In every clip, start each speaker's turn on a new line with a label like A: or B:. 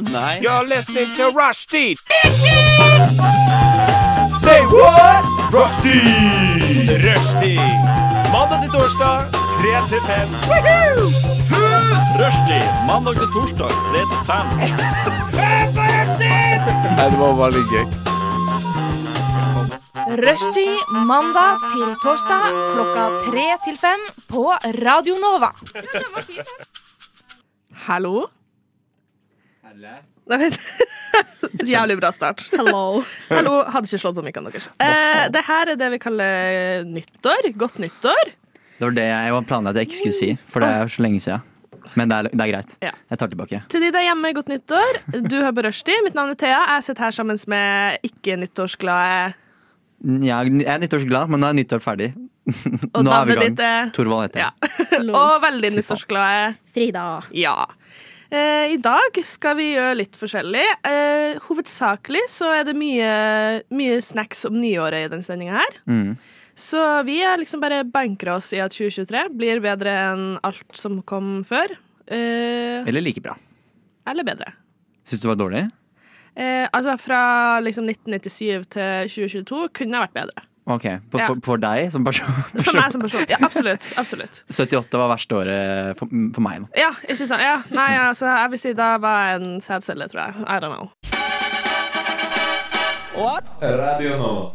A: Nei.
B: You're listening to Rushdie. Say what? Rushdie. Rushdie. Mandag til torsdag, 3 til 5. Rushdie. Mandag til torsdag, 3 til 5.
A: Nei, det var bare litt gøy.
C: Rushtid mandag til torsdag klokka tre til fem på Radio Nova.
D: Hallo? Nei, vent. Jævlig bra start.
C: Hello.
D: Hallo, hadde ikke slått på mikken deres. Eh, det her er det vi kaller nyttår. Godt nyttår.
A: Det var det jeg var planla at jeg ikke skulle si, for det er jo så lenge siden. Men det er, det er greit.
D: Ja.
A: Jeg tar tilbake.
D: Til de der hjemme, godt nyttår. Du hører på Rushdie. Mitt navn er Thea. Jeg sitter her sammen med ikke-nyttårsglade
A: Jeg er, jeg er nyttårsglad, men nå er nyttår ferdig.
D: Og
A: nå er vi i
D: navnet
A: gang.
D: ditt er-
A: Torvald heter
D: ja.
A: jeg.
D: og veldig nyttårsglade
C: Frida.
D: ja. Eh, I dag skal vi gjøre litt forskjellig. Eh, hovedsakelig så er det mye, mye snacks om nyåret i denne sendinga her.
A: Mm.
D: Så vi er liksom bare bankra oss i at 2023 blir bedre enn alt som kom før. Eh,
A: Eller like bra.
D: eller bedre.
A: Syns du det var dårlig?
D: Eh, altså fra liksom 1997 til 2022 kunne det vært bedre.
A: Ok, på,
D: Ja.
A: for, for deg som person,
D: For meg som person. Ja, absolutt. absolutt.
A: 78 var verste året for, for meg. da.
D: Ja, ikke sant? Ja, nei, altså, jeg vil si da var jeg en sædcelle, tror jeg. I don't know.
E: Radio Nova.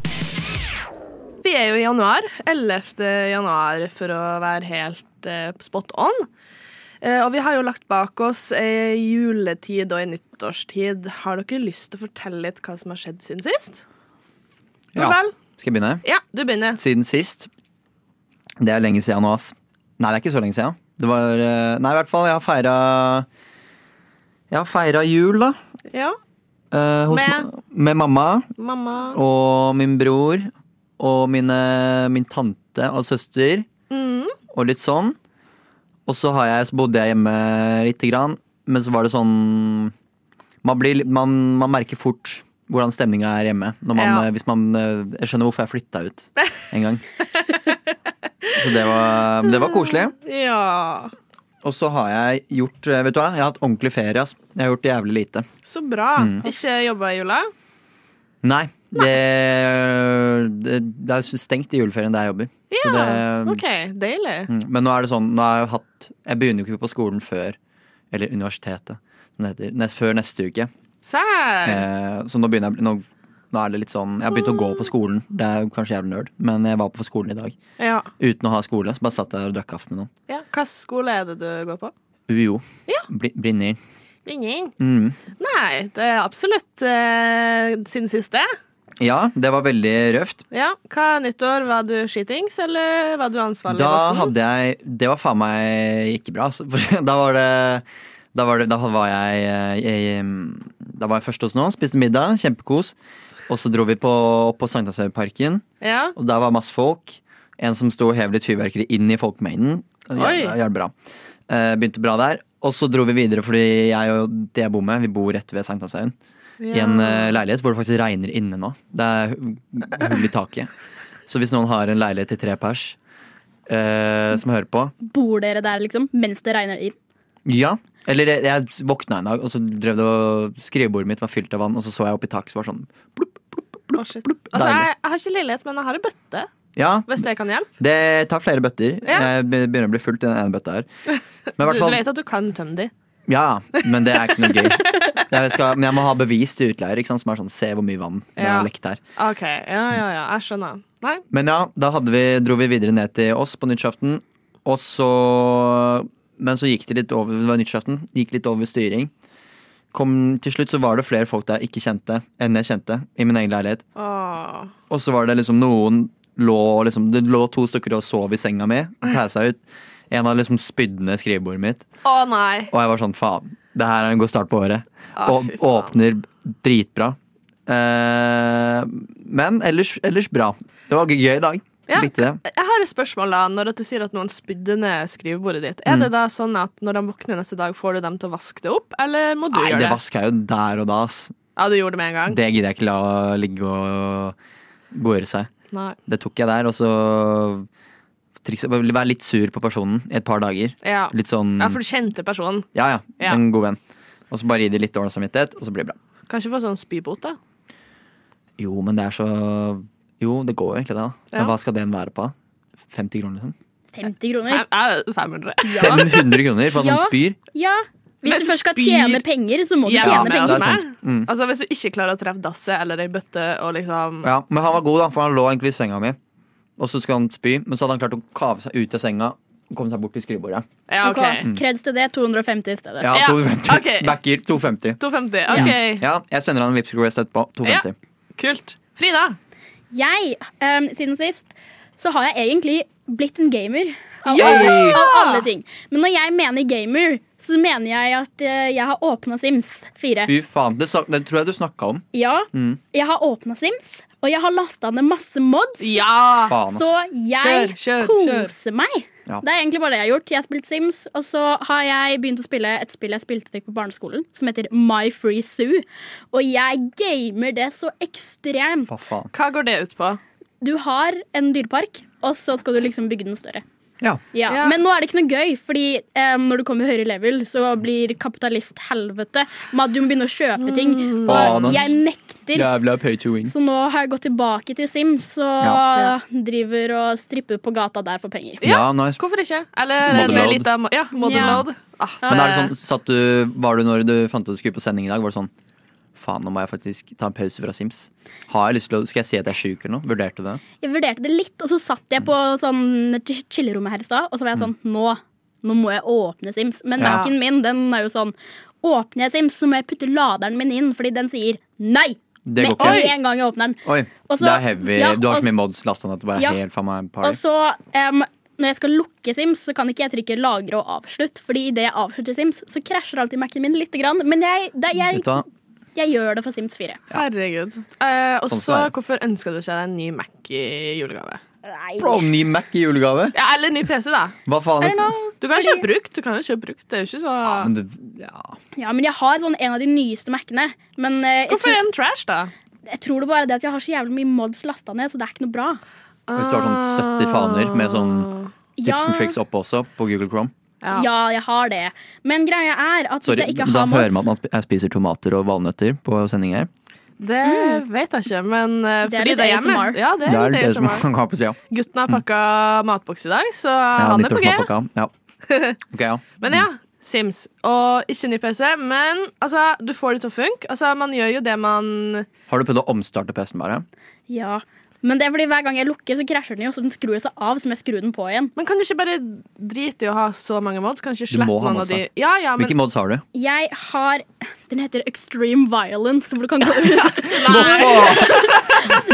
D: Vi er jo i januar. 11. januar, for å være helt eh, spot on. Eh, og vi har jo lagt bak oss ei juletid og ei nyttårstid. Har dere lyst til å fortelle litt hva som har skjedd siden sist? Ja. Vel?
A: Skal jeg begynne?
D: Ja, du begynner.
A: Siden sist. Det er lenge siden nå, ass. Nei, det er ikke så lenge siden. Det var eh, Nei, i hvert fall. Jeg har feira Jeg har feira jul, da.
D: Ja,
A: eh, hos,
D: Med?
A: ma- med mamma.
D: mamma.
A: og min bror og mine, min tante og søster og litt sånn. Og så, har jeg, så bodde jeg hjemme lite grann, men så var det sånn Man, blir, litt- man, man merker fort hvordan stemninga er hjemme. Når man,
D: Ja.
A: eh, hvis man, eh, jeg skjønner hvorfor jeg flytta ut en gang. Så det var, det var koselig.
D: Ja,
A: Og så har jeg gjort eh, Vet du hva, jeg har hatt ordentlig ferie. Ass. Jeg har gjort jævlig lite.
D: så bra.
A: Mm.
D: Ikke jobba i jula?
A: Nei. Det, det, det er stengt i juleferien der jeg jobber. Så
D: Ja,
A: det-
D: Ah,
A: um,
D: OK. Deilig.
A: Mm, Men nå er det sånn, nå har jeg jo hatt Jeg begynner jo ikke på skolen før Eller universitetet, som det heter. Nest, før neste uke.
D: Sær.
A: Eh, så nå begynner jeg nå, nå er det litt sånn Jeg har begynt å gå på skolen. Det er jo kanskje jævlig nerd, men jeg var på skolen i dag
D: Ja.
A: uten å ha skole. Så bare satt jeg og drakk kaffe med noen.
D: ja. Hvilken skole er det du går på?
A: UiO. Bli- Blindern.
D: Ringing.
A: Mm.
D: Nei, det er absolutt eh, siden siste.
A: Ja, det var veldig røft.
D: Ja, Hva nyttår? Var du skitings, eller var du ansvarlig
A: Da
D: voksen?
A: hadde jeg Det var faen meg ikke bra. altså. For Da var det da var, det, da var jeg, eh, jeg mm, Da var jeg først hos noen, spiste middag, kjempekos. Og så dro vi på, opp på Sankthanshaugparken.
D: Ja.
A: Og der var masse folk. En som sto og hev litt fyrverkeri inn i folkemengden.
D: Oi.
A: Jævla- jævla bra. Eh, Begynte bra der. Og så dro vi videre, fordi jeg og det jeg bor med, vi bor rett ved Sankthanshaugen. I en eh, leilighet hvor det faktisk regner inne nå. Det er hu- hull i taket. Så hvis noen har en leilighet til tre pers eh, som hører på
F: Bor dere der liksom, mens det regner inn?
A: Ja. Eller jeg, jeg våkna en dag, og så drev det og skrivebordet mitt var fylt av vann, og så så jeg opp i taket, så var det sånn
D: Å, shit. altså,
A: Deilig.
D: jeg, jeg har ikke leilighet, men jeg har ei bøtte,
A: Ja,
D: hvis det kan hjelpe.
A: det tar flere bøtter.
D: Ja.
A: Jeg be- begynner å bli fullt i den ene bøtta her. Men i
D: Du,
A: hvert
D: du
A: fall-
D: vet at du kan tømme de.
A: Ja, men det er ikke noe gøy. Jeg skal, men jeg må ha bevis til utleier, ikke sant? som er sånn se hvor mye vann det
D: Ja.
A: har lekt her.
D: OK, ja, ja, ja, jeg skjønner. Nei,
A: Men ja, da hadde vi, dro vi videre ned til oss på nyttårsaften, og så Men så gikk det litt over det var nyttårsaften, gikk litt over styring. Kom, til slutt så var det flere folk der jeg ikke kjente enn jeg kjente i min egen leilighet.
D: åh.
A: Og så var det liksom noen lå liksom, Det lå to stykker og sov i senga mi og pæsa ut. En hadde liksom spydd ned skrivebordet mitt.
D: Å nei.
A: Og jeg var sånn, faen, det her er en god start på året.
D: Ah,
A: og
D: fy faen.
A: åpner dritbra. Eh, men ellers, ellers bra. Det var en gøy dag.
D: Ja.
A: Likte det.
D: Jeg har et spørsmål da, når at du sier at noen spydde ned skrivebordet ditt.
A: Mm.
D: Er det da sånn at når de våkner neste dag, får du dem til å vaske det opp, eller må du
A: Nei,
D: gjøre
A: det
D: det? Mm.
A: vaska jeg jo der og da. Ass.
D: Ja, du gjorde det med en gang?
A: Det gidder jeg ikke la ligge og bore seg.
D: Nei.
A: Det tok jeg der, og så trikset- bare Være litt sur på personen i et par dager.
D: Ja.
A: Litt sånn
D: ja, for du kjente personen.
A: Ja, ja.
D: Ja.
A: En god venn. Og så bare gi de litt dårlig samvittighet, og så blir det bra.
D: Kanskje få sånn spybot, da.
A: Jo, men det er så Jo, det går jo egentlig, det. da.
D: Ja.
A: Men Hva skal den være på? 50 kroner, liksom?
F: 50 kroner.
D: Fem- eh, 500.
A: 500 kroner for at
F: Ja.
A: noen spyr?
F: Ja. Hvis
D: Men
F: du først skal
D: spyr-
F: tjene penger, så må du
D: Hjemme
F: tjene
D: hos
A: det
F: penger.
A: er
D: meg.
A: sant. Mm.
D: Altså, hvis du ikke klarer å treffe dasset eller ei bøtte og liksom
A: Ja, men han var god, da, for han lå egentlig i senga mi. Og så skulle han spy, men så hadde han klart å kave seg ut av senga og komme seg bort til skrivebordet.
D: Ja, OK.
F: Ok, Kreds til det. 250 i stedet.
A: Ja,
D: Ja,
A: 250.
D: ok.
A: Backer 250.
D: 250. OK,
A: Ja, jeg sender han en Vipps Request etterpå. 250.
D: kult. Frida.
F: Jeg, ehm, siden sist, så har jeg egentlig blitt en gamer. Av,
A: Ja!
F: alle, av alle ting. Men når jeg mener gamer, så mener jeg at eh, jeg har åpna Sims 4.
A: Fy faen. Det, sa, det tror jeg du snakka om.
F: Ja,
A: Mm.
F: jeg har åpna Sims, og jeg har lasta ned masse mods.
D: Ja!
A: Faen,
F: Så
A: ass.
F: jeg
D: Kjør, kjør,
F: koser meg.
A: Ja.
F: Det er egentlig bare det jeg har gjort. Jeg har spilt Sims, og så har jeg begynt å spille et spill jeg spilte til på barneskolen, som heter My Free Zoo. Og jeg gamer det så ekstremt.
A: Hva faen.
D: Hva går det ut på?
F: Du har en dyrepark, og så skal du liksom bygge den større.
A: Ja.
F: Ja.
D: Ja.
F: Men nå er det ikke noe gøy, fordi em, når du kommer høyere level, så blir kapitalist-helvete med at du må begynne å kjøpe ting.
D: Mm.
A: Faen,
F: Og
A: ass.
F: jeg nekter.
A: Jævla pay to win.
F: Så nå har jeg gått tilbake til Sims og
A: Ja.
F: driver og stripper på gata der for penger.
A: Ja, nice.
D: Hvorfor ikke? Eller en
A: Motherload.
D: liten Ja, motherload. Ah,
A: Men er det sånn, satt du, var du når du fant ut du skulle på sending i dag, var det sånn Faen, nå må jeg faktisk ta en pause fra Sims. Har jeg lyst til å, Skal jeg si at jeg er sjuk eller noe? Vurderte du det?
F: Jeg vurderte det litt, og så satt jeg på sånn ch- chillerommet her i stad, og så var jeg sånn Nå, nå må jeg åpne Sims. Men
A: Mm. Ja.
F: Mac-en min den er jo sånn Åpner jeg Sims, så må jeg putte laderen min inn, fordi den sier nei!
A: Det går
F: Med
A: ikke.
F: en gang jeg åpner den.
A: Oi,
F: Og så-
A: det er heavy.
F: ja,
A: du har
F: og-
A: så mye mods lasta ned at det bare
F: Ja.
A: er helt faen meg
F: Og
A: party.
F: så, em, når jeg skal lukke Sims, så kan ikke jeg trykke 'lagre og avslutt', fordi idet jeg avslutter Sims, så krasjer alltid Mac-en min lite grann. Men jeg, det, jeg,
A: Vet du hva?
F: jeg gjør det for Sims 4.
D: herregud. Eh, og
A: Sånn
D: så,
A: skal det være.
D: hvorfor ønska du ikke deg en ny Mac i julegave?
F: Nei.
A: Bro, ny Mac i julegave?
D: Ja, Eller en ny PC, da.
A: Hva
F: I
A: faen?
F: don't know.
D: Du kan jo
F: Fordi-
D: kjøpe brukt. Du kan jo kjøpe brukt. Det er jo ikke så
A: Men det, ja.
F: Ja, men jeg har sånn en av de nyeste Mac-ene. Men eh, jeg
D: Hvorfor
F: tror,
D: er den trash, da?
F: jeg tror det bare er det at jeg har så jævlig mye mods lasta ned, så det er ikke noe bra.
A: Hvis du har sånn 70 faner med sånn tips
F: Ja,
A: and tricks oppe også, på Google Chrome
D: Ah. Ja.
F: ja, jeg har det. Men greia er at hvis
A: Sorry,
F: jeg ikke
A: da
F: har
A: hører man at
F: mods
A: man sp- jeg spiser tomater og valnøtter på sending her.
D: Det vet jeg ikke, men eh,
F: Mm. Det er
D: fordi
F: litt
D: det er hjemme
F: ASMR.
D: Ja, det
A: Det
D: er
A: er det
D: litt
A: som
D: ASMR.
A: man har på sida.
D: Gutten har pakka matboks i dag, så
A: Mm. Ja,
D: han er på G.
A: nyttårsmatpakka. Ja. Ok, ja.
D: Men ja, Sims. Og ikke ny PC, men altså, du får det til å funke. Altså, man gjør jo det man
A: Har du prøvd å omstarte PC-en bare?
F: Ja, men det er fordi hver gang jeg lukker, så krasjer den jo, så den skrur seg av, så må jeg skru den på igjen.
D: Men kan du ikke bare drite i å ha så mange mods? Kan du
A: Du
D: ikke
A: må
D: slette
A: ha
D: noen av
A: mods,
D: de Ja, ja, men
A: Hvilke mods har du?
F: Jeg har Den heter Extreme Violence, hvor du kan gå ut.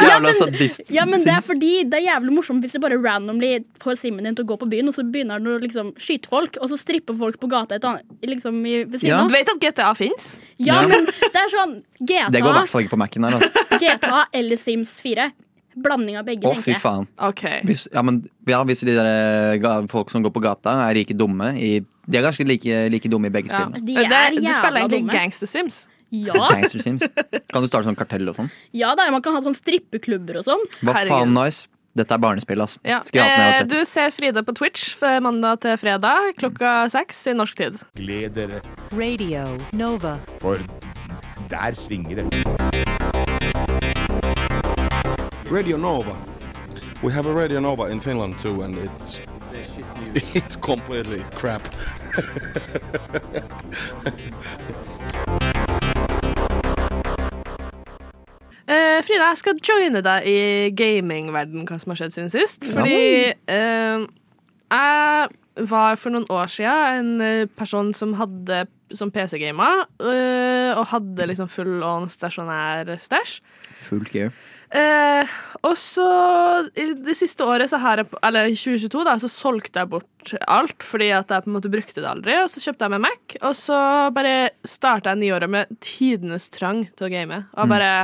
A: Jævla sadist.
F: Ja, men det er fordi det er jævlig morsomt hvis du bare randomly får simmen din til å gå på byen, og så begynner den å liksom skyte folk, og så stripper folk på gata et annet, liksom i, ved siden
A: Ja.
F: av.
D: Du vet at GTA fins?
F: Ja,
A: Ja.
F: men det er sånn
A: Det går i
F: GTA,
A: hvert fall ikke på Mac-en her. Altså.
F: GTA eller Sims 4. Blanding av begge,
A: Å, fy
F: tenker jeg.
A: faen.
D: OK.
A: Hvis, ja, men, ja, hvis de der, eh, ga- folk som går på gata, er like dumme i De er ganske like, like dumme i begge
D: Ja. Eh,
A: spillene.
F: De
D: Det-
F: er
D: du spiller
F: jævla
D: egentlig
F: dumme.
D: Gangster Sims.
F: Ja,
A: Gangster Sims. Kan du starte sånn kartell og sånn?
F: ja da, man kan ha sånn strippeklubber og sånn.
A: Hva
D: Herregud.
A: faen nice? Dette er barnespill, ass.
D: Ja.
A: Skulle jeg
D: Eh,
A: hatt ned
D: Du ser Frida på Twitch fra mandag til fredag klokka seks i norsk tid.
G: Gled dere,
H: Radio Nova.
G: for der svinger det.
I: Radio Nova. We have a Radio Nova in Finland too, and it's it's completely crap.
D: Eh, Frida, jeg skal joine deg i gamingverden, hva som har skjedd siden sist. Fordi eh, jeg var for noen år siden en eh, person som hadde som PC-gamer, eh, og hadde liksom full on stasjonær stæsj.
A: Full gear.
D: Eh, og så i det siste året, så har jeg, eller i 2022, da, så solgte jeg bort alt. Fordi at jeg på en måte brukte det aldri. Og så kjøpte jeg meg Mac, og så bare starta jeg nyåret med tidenes trang til å game. Og bare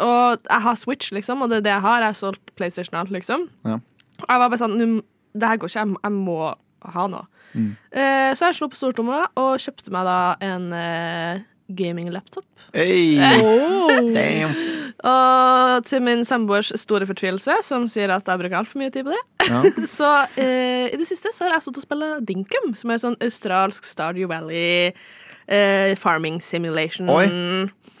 D: Og jeg har Switch, liksom, og det er det jeg har. Jeg har solgt PlayStation og alt, liksom.
A: Ja.
D: Og jeg var bare sånn «Nu- Det her går ikke. Jeg, må- jeg må ha noe. Eh, så jeg slo på stortromma og kjøpte meg da en eh, gaming-laptop.
A: Hey. Damn.
D: Og til min samboers store fortvilelse, som sier at jeg bruker altfor mye tid på det,
A: Ja.
D: så eh, i det siste så har jeg stått og spilt Dinkum, som er sånn australsk Stardew Valley eh, farming simulation.
A: Oi.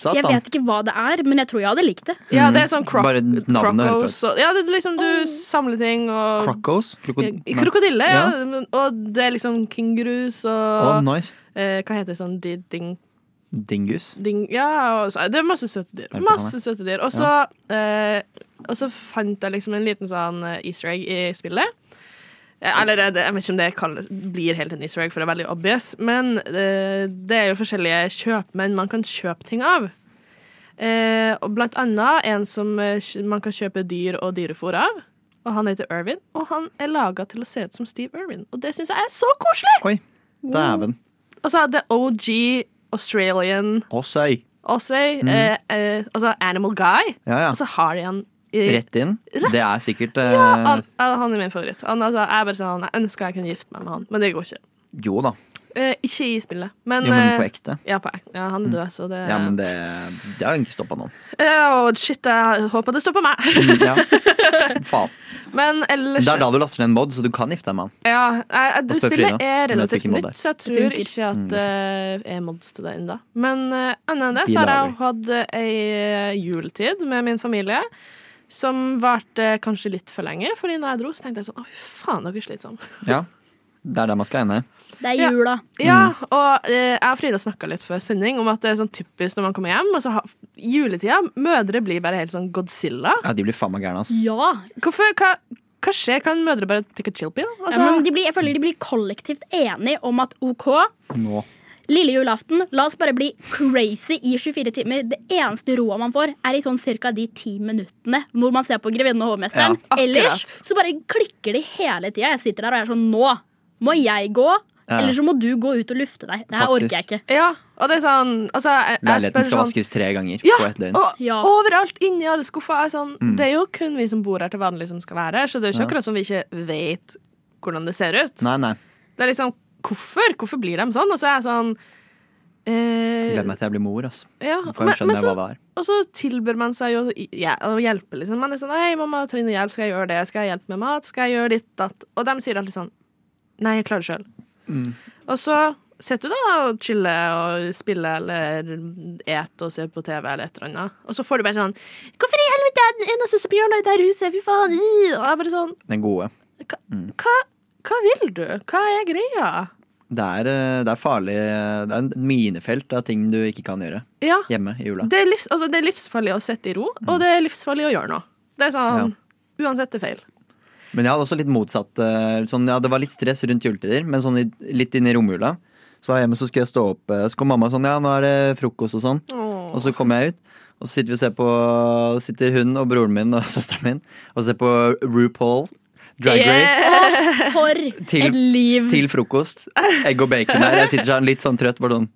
F: Jeg
A: Satan.
F: vet ikke hva det er, men jeg tror jeg hadde likt det.
D: Ja, det er sånn croc
A: Mhm. Bare navnet hører på.
D: crocos og, Ja, det er liksom du samler ting og
A: Crocos? Krokod...
D: I- Krokodille, ja.
A: Ja.
D: men- Og det er liksom kengurus og
A: Å, nice.
D: eh, Hva heter det sånn di- ding,
A: Dingus.
D: ding Ja, og så, det er masse søte dyr.
A: Jeg vet
D: Masse søte dyr. Og så eh, Og så fant jeg liksom en liten sånn eh, easter egg i spillet. Eh, Eller eh, det- jeg vet ikke om det kalles, blir helt en easter egg, for det er veldig obvious. Men eh, det er jo forskjellige kjøpmenn man kan kjøpe ting av. Eh, og blant annet en som eh, kj- man kan kjøpe dyr og dyrefôr av. Og han heter Irvin, og han er laga til å se ut som Steve Irvin. Og det syns jeg er så koselig!
A: Oi. Dæven.
D: Altså, det er OG Australian
A: Å, søy.
D: Osway, eh, eh, altså Animal Guy,
A: Mm. Ja, ja.
D: og så Altså, har de han i-
A: Rett inn. Det er sikkert eh,
D: han, ja, han er min favoritt. Han, altså, jeg er bare sånn, jeg ønsker jeg kunne gifte meg med han, men det går ikke.
A: Jo da.
D: Eh, ikke i spillet, men,
A: Jo, men på
D: eh,
A: ekte. Mm.
D: ja, på ek- ja, han er død, så det,
A: Ja, men det, det har ikke stoppa noen.
D: Eh, og Shit, jeg håper det stopper meg.
A: Ja. Faen.
D: men ellers
A: Det er da du laster ned en mod, så du kan gifte deg med han.
D: ja, jeg, jeg,
A: Og spør
D: Spillet
A: Frida,
D: er
A: hun vet
D: relativt
A: hvilken mod
D: nytt,
A: det
D: så jeg
F: Det
D: tror
F: funker.
D: ikke at
A: Mm.
D: det er mods til det ennå. Men eh, annet enn det
A: Vi
D: så har jeg
A: lager.
D: hatt eh, ei eh, juletid med min familie. Som varte eh, kanskje litt for lenge, Fordi når jeg dro, så tenkte jeg sånn Å, fy faen, dere er slitsomme.
A: Ja. Det er der man skal ende.
F: Det
D: Ja.
F: er jula.
D: Ja, og eh, jeg og Frida snakka litt før sending om at det er sånn typisk når man kommer hjem. Og så ha, juletida, mødre blir bare helt sånn Godzilla.
A: Ja, de blir faen meg gærne, altså.
F: Ja.
D: Hvorfor, hva, hva skjer? Kan mødre bare take a chill pill?
F: ja
D: Altså,
F: men de blir, jeg føler de blir kollektivt enige om at OK,
A: Nå.
F: lille julaften, la oss bare bli crazy i 24 timer. Det eneste roa man får, er i sånn ca. de ti minuttene hvor man ser på Grevinnen og hovmesteren.
A: Ja,
D: akkurat.
F: Ellers så bare klikker de hele tida. Jeg sitter der og jeg er sånn Nå må jeg gå,
A: Ja.
F: eller så må du gå ut og lufte deg. Det her
A: Faktisk.
F: orker jeg ikke.
D: ja, og det er sånn altså, jeg, jeg
A: Leiligheten
D: spør
A: skal
D: sånn
A: vaskes tre ganger
D: Ja,
A: på ett døgn. Mm.
D: Og
F: Ja.
D: overalt inni alle skuffer er sånn Det er jo kun vi som bor her til vanlig som skal være her, så det er jo ikke
A: Ja.
D: akkurat som vi ikke vet hvordan det ser ut.
A: Nei, nei.
D: Det er liksom hvorfor? Hvorfor blir de sånn? Og så er jeg sånn eh,
A: Gleder meg til jeg blir mor, altså.
D: ja,
A: For jeg skjønner
D: så,
A: hva det er.
D: og så tilbyr man seg jo ja, å hjelpe, liksom. Man er sånn 'Hei, mamma, trenger du hjelp? Skal jeg gjøre det? Skal jeg hjelpe med mat? Skal jeg gjøre ditt, datt?' Og de sier alltid sånn 'Nei, jeg klarer det sjøl'. Og så sitter du da og chiller og spiller eller et og ser på TV eller et eller annet. Og så får du bare sånn 'Hvorfor i helvete er det den eneste som gjør noe i det her huset? Fy faen!' øh!» Og jeg bare sånn
A: Den gode.
D: hva, hva, hva vil du? Hva er greia?
A: Det er, eh, det er farlig. Det er en minefelt av ting du ikke kan gjøre
D: Ja.
A: hjemme i jula.
D: Det er, livs, altså, det er livsfarlig å sitte i ro, og det er livsfarlig å gjøre noe. Det er sånn Uansett det er feil.
A: Men jeg hadde også litt motsatt. eh, Sånn, ja, det var litt stress rundt juletider, men sånn i- litt inn i romjula. Så var jeg hjemme, så skulle jeg stå opp, eh, så kom mamma sånn, ja, nå er det frokost og sånn. Og så kommer jeg ut, og så sitter vi og ser på, sitter hun og broren min og søsteren min og ser på RuPaul Drag Race
F: For
A: Til-
F: et liv!
D: Mm.
A: til frokost. Egg og bacon der. Jeg sitter sånn litt sånn trøtt, bare sånn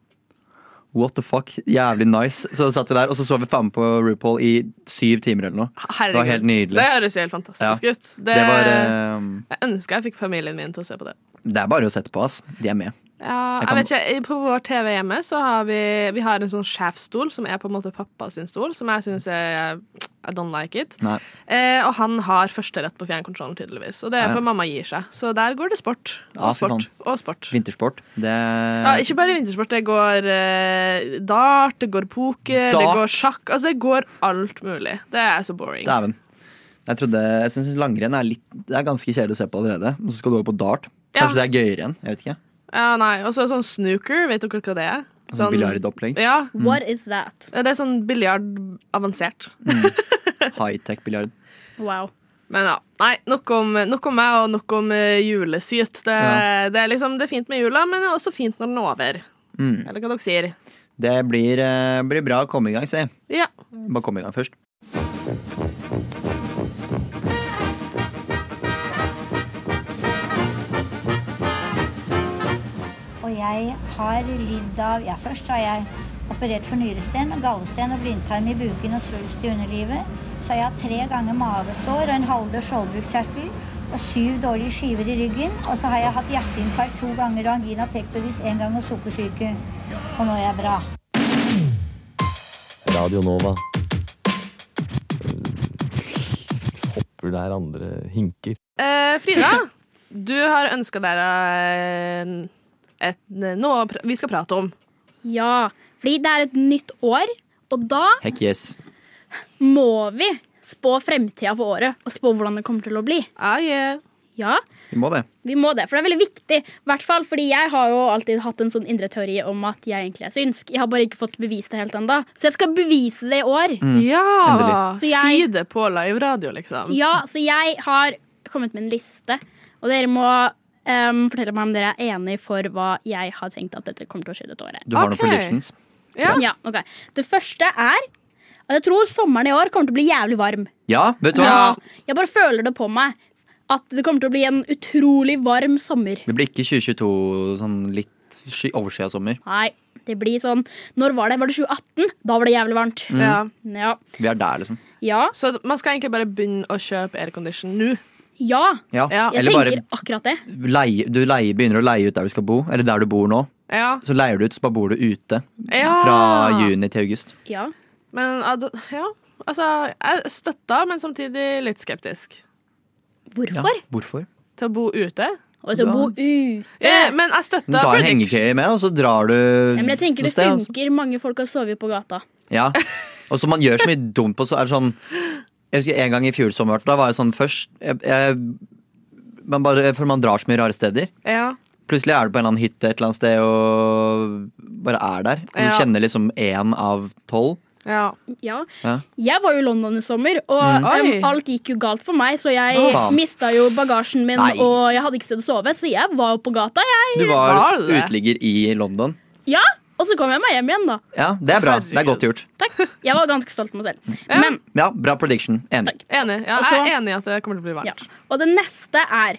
A: What the fuck? Jævlig nice. Så satt vi der, og så så vi faen meg på RuPaul i syv timer eller noe.
D: Herregud.
A: Det var helt nydelig.
D: Det høres jo helt fantastisk
A: Ja.
D: ut. Det,
A: Det var eh,
D: Jeg ønsker jeg fikk familien min til å se på det.
A: Det er bare å sette på, ass. De er med.
D: Ja,
A: Jeg
D: jeg
A: kan-
D: vet ikke, På vår TV hjemme så har vi, vi har en sånn sjefsstol som er på en måte pappa sin stol, som jeg syns er I don't like it.
A: Nei.
D: Eh, og han har førsterett på fjernkontrollen, tydeligvis. Og det er for mamma gir seg. Så der går det sport. Og
A: Ja, fy
D: sport. Og sport.
A: Vintersport. Det
D: Ja, ikke bare vintersport. Det går eh, dart, det går poker, det
A: Dart?
D: går sjakk. Altså, det går alt mulig. Det er så boring.
A: Dæven. Jeg, trodde, jeg syns langrenn er, litt, det er ganske kjedelig å se på allerede. Og så skal du over på dart.
D: Ja.
A: Kanskje det er gøyere igjen. Jeg vet ikke.
D: Ja, nei. Og så sånn snooker. Vet dere hva det er?
A: Sånn, Biljardopplegg.
D: Ja.
F: What is that?
D: Det er sånn biljard avansert.
A: High-tech-biljard.
F: Wow.
D: Men ja. Nei, nok om, nok om meg og nok om eh, julesyt. Det,
A: Ja.
D: det, er liksom, det er fint med jula, men det er også fint når den er over.
A: Mm.
D: Eller hva dere sier.
A: Det blir, eh, blir bra å komme i gang, si.
D: Ja.
A: Bare komme i gang først.
J: Og jeg har lidd av Ja, først har jeg operert for nyresten, gallesten og blindtarm i buken og svulst i underlivet. Så har jeg hatt tre ganger mavesår og en halvdød skjoldbruskkjertel og syv dårlige skiver i ryggen. Og så har jeg hatt hjerteinfarkt to ganger og angina pectoris én gang og sukkersyke. Og nå er jeg bra.
K: Radio Nova. hinker der andre hinker.
D: Eh, Frida, du har ønska deg eh, et, noe å pra- vi skal prate om.
F: Ja, fordi det er et nytt år, og da
A: Heck yes.
F: må vi spå fremtida for året, og spå hvordan det kommer til å bli.
D: Ah,
F: Ja,
A: Vi må det.
F: vi må det, for det er veldig viktig. I hvert fall fordi jeg har jo alltid hatt en sånn indre teori om at jeg egentlig er synsk. Jeg har bare ikke fått bevist det helt ennå, så jeg skal bevise det i år.
D: Mm.
A: Mm.
D: Ja!
F: Så jeg-
D: Si det på live radio, liksom.
F: Ja, så jeg har kommet med en liste, og dere må em, fortelle meg om dere er enig for hva jeg har tenkt at dette kommer til å skje dette året.
A: Du har noen predictions.
F: Ja. ok. Det første er at jeg tror sommeren i år kommer til å bli jævlig varm.
A: Ja, vet du hva?
F: Ja, Jeg bare føler det på meg. At det kommer til å bli en utrolig varm sommer.
A: Det blir ikke 2022 sånn litt sky, overskya sommer.
F: Nei, det blir sånn Når var det? Var det 2018? Da var det jævlig varmt.
A: Mm. Ja.
F: Ja.
A: Vi er der, liksom.
F: Ja.
D: Så man skal egentlig bare begynne å kjøpe aircondition nå.
F: ja.
A: Ja.
F: Jeg
A: Eller
F: tenker
A: bare
F: akkurat det.
A: leie, du leie, begynner å leie ut der du skal bo, eller der du bor nå.
D: Ja.
A: Så leier du ut, så bare bor du ute.
D: Ja.
A: Fra
F: Ah.
A: juni til august.
F: Ja.
D: Men ad- ja, altså Jeg støtta, men samtidig litt skeptisk.
F: Hvorfor?
A: Hvorfor?
D: Til å bo ute.
F: Og til å bo ute.
D: Ja, men jeg
A: Du
D: støtta
A: tar en hengekøye med, og så drar du
F: Ja, men jeg tenker
A: noe
F: det
A: sted, og så-
F: funker. Mange folk har sovet på gata.
A: Ja. Og så man gjør så mye dumt på, så er det sånn Jeg husker en gang i fjor sommer, da var jeg sånn først jeg, jeg, man bare, For man drar så mye rare steder.
D: Ja.
A: Plutselig er du på en eller annen hytte et eller annet sted og bare er der. Og du
F: Ja.
A: kjenner liksom én av tolv.
D: Ja.
F: ja.
A: Ja.
F: Jeg var jo i London i sommer, og
A: Mm.
F: em,
A: Oi.
F: alt gikk jo galt for meg. Så jeg
A: Å, faen.
F: mista jo bagasjen min,
A: Nei.
F: og jeg hadde ikke sted å sove, så jeg var jo på gata. Jeg.
A: Du var uteligger i London.
F: Ja, Og så kom jeg meg hjem igjen, da.
A: Ja, det er bra. Det er godt gjort.
F: Takk. Jeg var ganske stolt av meg selv. Men,
A: Ja, Bra prediction. Enig.
D: Enig. Ja,
F: Og så-
D: jeg er enig i at det kommer til å bli varmt.
F: ja. Og det neste er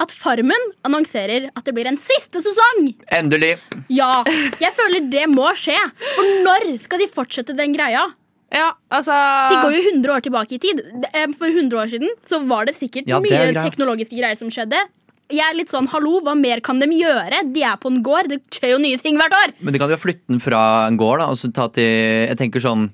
F: at Farmen annonserer at det blir en siste sesong.
A: Endelig.
F: Ja, jeg føler det må skje. For når skal de fortsette den greia?
D: Ja, altså
F: De går jo 100 år tilbake i tid. Eh, For 100 år siden så var det sikkert
D: Ja, det
F: mye
D: er greia.
F: teknologiske greier som skjedde. Jeg er litt sånn, hallo, Hva mer kan de gjøre? De er på en gård. Det skjer jo nye ting hvert år.
A: Men du kan jo flytte den fra en gård da, og så ta til jeg tenker sånn,